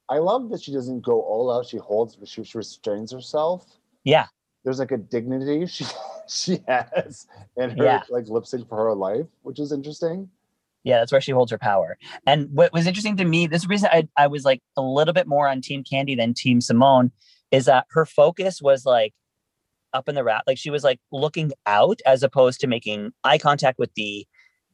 A: I love that she doesn't go all out. She holds, she, she restrains herself.
B: Yeah.
A: There's like a dignity she she has in her
B: Yeah.
A: like lip sync for her life, which is interesting.
B: Yeah, that's where she holds her power. And what was interesting to me, this is the reason I, I was like a little bit more on Team Candy than Team Simone, is that her focus was like up in the rat, like she was like looking out as opposed to making eye contact with the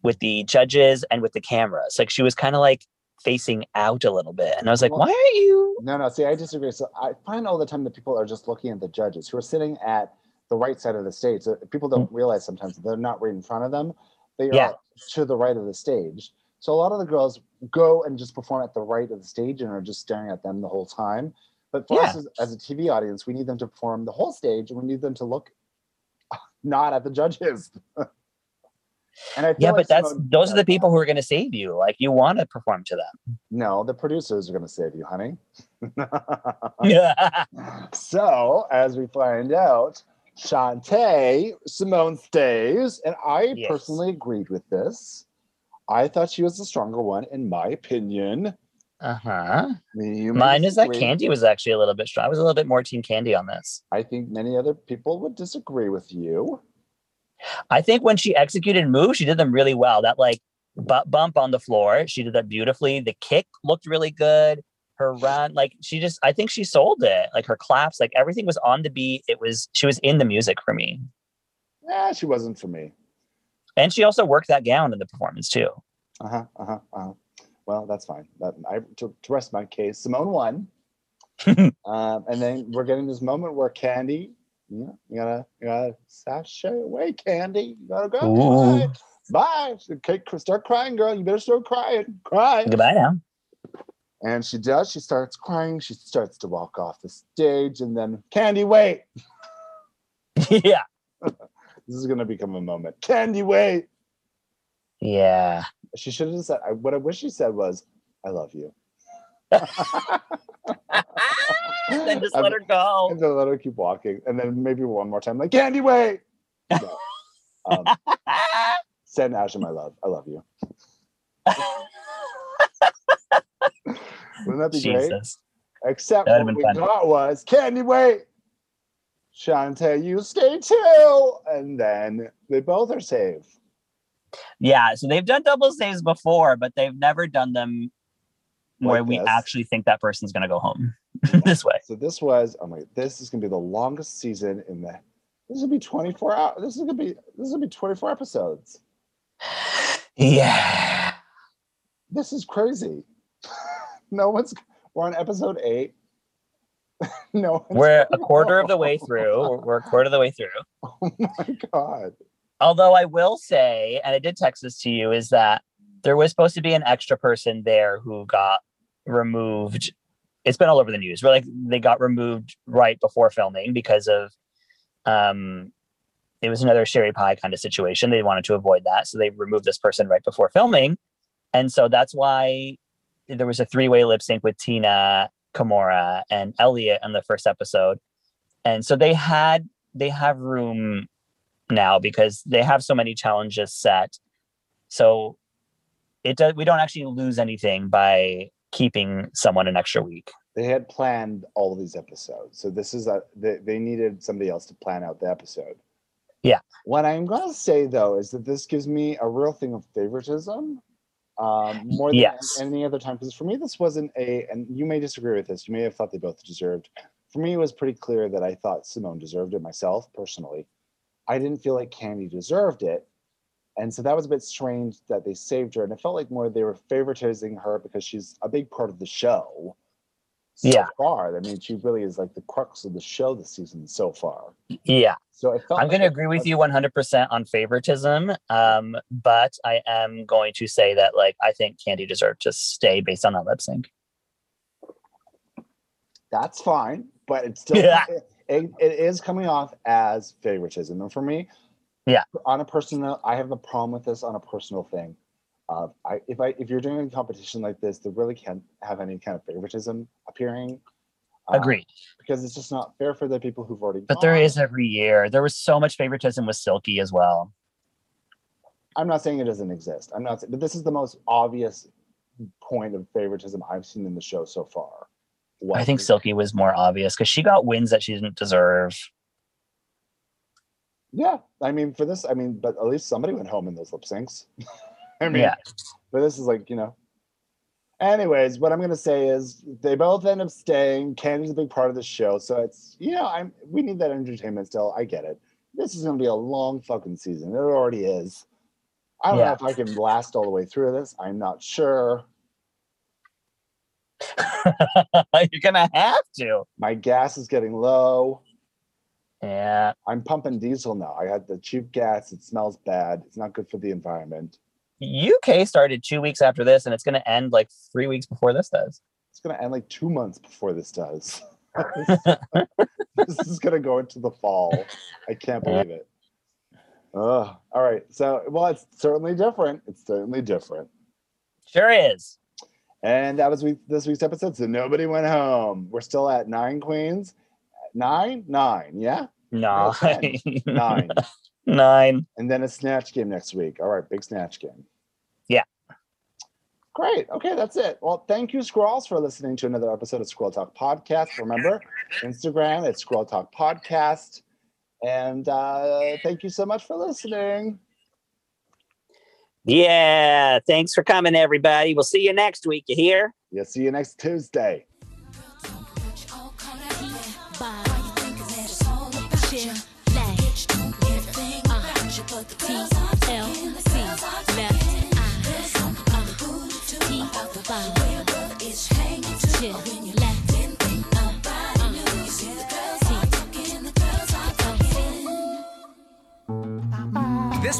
B: with the judges and with the cameras. Like she was kind of like facing out a little bit, and I was like,
A: Well-
B: why are you?
A: No, no. See, I disagree. So I find all the time that people are just looking at the judges who are sitting at the right side of the stage. So people don't realize sometimes that they're not right in front of them. They
B: Mm-hmm. Yeah.
A: are to the right of the stage. So a lot of the girls go and just perform at the right of the stage and are just staring at them the whole time. But for us as, as a TV audience, we need them to perform the whole stage and we need them to look not at the judges. and I feel
B: Yeah,
A: like
B: but that's
A: Simone
B: those are the
A: does that.
B: people who are going to save you. Like you want to perform to
A: No, the producers are going to save you, honey.
B: them.
A: Uh-huh.
B: Yeah.
A: So, as we find out, Shantae Simone stays, and I
B: Yes.
A: personally agreed with this. I thought she was the stronger one, in my opinion.
B: uh huh.
A: You may
B: Mine is that
A: disagree.
B: Candy was actually a little bit strong. I was a little bit more Team Candy on this.
A: I think many other people would disagree with you.
B: I think when she executed moves, she did them really well. That like butt bump on the floor, she did that beautifully. The kick looked really good. Her run, like she just, I think she sold it. Like her claps, like everything was on the beat. It was, she was in the music for me.
A: Nah, she wasn't for me.
B: And she also worked that gown in the performance too.
A: Uh huh. Uh huh. Uh huh. Well, that's fine. That, I to, to rest my case, Simone won, um, and then we're getting this moment where Candy, you, know, you gotta, you gotta sashay away, Candy. You gotta go.
B: Ooh.
A: Bye. Bye. She said, "Okay, start crying, girl. You better start crying. Cry.
B: Goodbye now.
A: And she does. She starts crying. She starts to walk off the stage, and then Candy, wait.
B: yeah.
A: This is gonna become a moment. Candy, wait.
B: Yeah.
A: She should have said. I, what I wish she said was, "I love you."
B: then Ah, just
A: I'm-
B: let her go.
A: and then let her keep walking, and then maybe one more time, like Candy, wait. No. um,
B: Ah.
A: send Asha my love. I love you. Wouldn't that be great?
B: Jesus.
A: Except
B: That would've
A: what
B: been
A: we
B: fun.
A: got was Candy, wait. Shantae, you stay too, and then they both are safe.
B: Yeah, so they've done double saves before, but they've never done them
A: Like
B: where we
A: this.
B: actually think that person's going to go home this way.
A: So this was. I'm like, this is gonna be the longest season in the. This will be 24 hours. This is gonna be. This will be 24 episodes.
B: Yeah.
A: This is crazy. no one's. We're on episode eight. no. One's
B: We're a quarter of the way through. We're- We're a quarter of the way through.
A: Oh my god.
B: Although I will say, and I did text this to you, is that there was supposed to be an extra person there who got removed. It's been all over the news. We're like they got removed right before filming because of um it was another Sherry Pie kind of situation. They wanted to avoid that. So they removed this person right before filming. And so that's why there was a three-way lip sync with Tina, Kimora, and Elliot on the first episode. And so they had they have room now because they have so many challenges set. So it does we don't actually lose anything by keeping someone an extra week.
A: They had planned all of these episodes, so this is a they, they needed somebody else to plan out the episode.
B: Yeah.
A: What I'm gonna say though is that this gives me a real thing of favoritism um, more than
B: Yes.
A: any other time. Because for me, this wasn't a, and you may disagree with this. You may have thought they both deserved. For me, it was pretty clear that I thought Simone deserved it myself personally. I didn't feel like Candy deserved it. And so that was a bit strange that they saved her. And it felt like more they were favoritizing her because she's a big part of the show so
B: Yeah.
A: far. I mean, she really is like the crux of the show this season so far.
B: Yeah.
A: So it felt
B: I'm
A: like
B: going to
A: it
B: agree with
A: was-
B: you 100% on favoritism, um, but I am going to say that like I think Candy deserved to stay based on that lip sync.
A: that's fine, but it's still
B: Yeah.
A: it, it- it is coming off as favoritism. And for me,
B: Yeah.
A: on a personal, I have a problem with this on a personal thing. Uh, I, if I if you're doing a competition like this, they really can't have any kind of favoritism appearing. uh,
B: Agreed.
A: because it's just not fair for the people who've already.
B: But there
A: gone.
B: is every year. There was so much favoritism with Silky as well.
A: I'm not saying it doesn't exist. I'm not. sa- But this is the most obvious point of favoritism I've seen in the show so far.
B: I
A: Was
B: think
A: the-
B: Silky was more obvious because she got wins that she didn't deserve.
A: Yeah, I mean, for this, I mean, but at least somebody went home in those lip syncs. I mean,
B: Yeah.
A: but this is like you know. Anyways, what I'm gonna say is they both end up staying. Candy's a big part of the show, so it's you know I'm we need that entertainment still. I get it. This is gonna be a long fucking season. It already is. I don't
B: Yeah.
A: know if I can last all the way through this. I'm not sure.
B: You're gonna have to.
A: My gas is getting low.
B: Yeah.
A: I'm pumping diesel now. I had the cheap gas. It smells bad. It's not good for the environment.
B: UK started two weeks after this, and it's gonna end like three weeks before this does.
A: It's gonna end like two months before this does. this is gonna go into the fall. I can't believe it. Ugh. All right. So, well, it's certainly different. It's certainly different.
B: Sure is.
A: And that was week, this week's episode. So nobody went home. We're still at nine queens. Nine, nine, yeah,
B: No.
A: ten. nine.
B: Nine.
A: and then a snatch game next week. All right, big snatch game.
B: Yeah.
A: Great. Okay, that's it. Well, thank you, Squirrels, for listening to another episode of Squirrel Talk Podcast. Remember, Instagram at Squirrel Talk Podcast. And uh, thank you so much for listening.
B: Yeah. Thanks for coming, everybody. We'll see you next week. You hear?
A: We'll see you next Tuesday.
C: This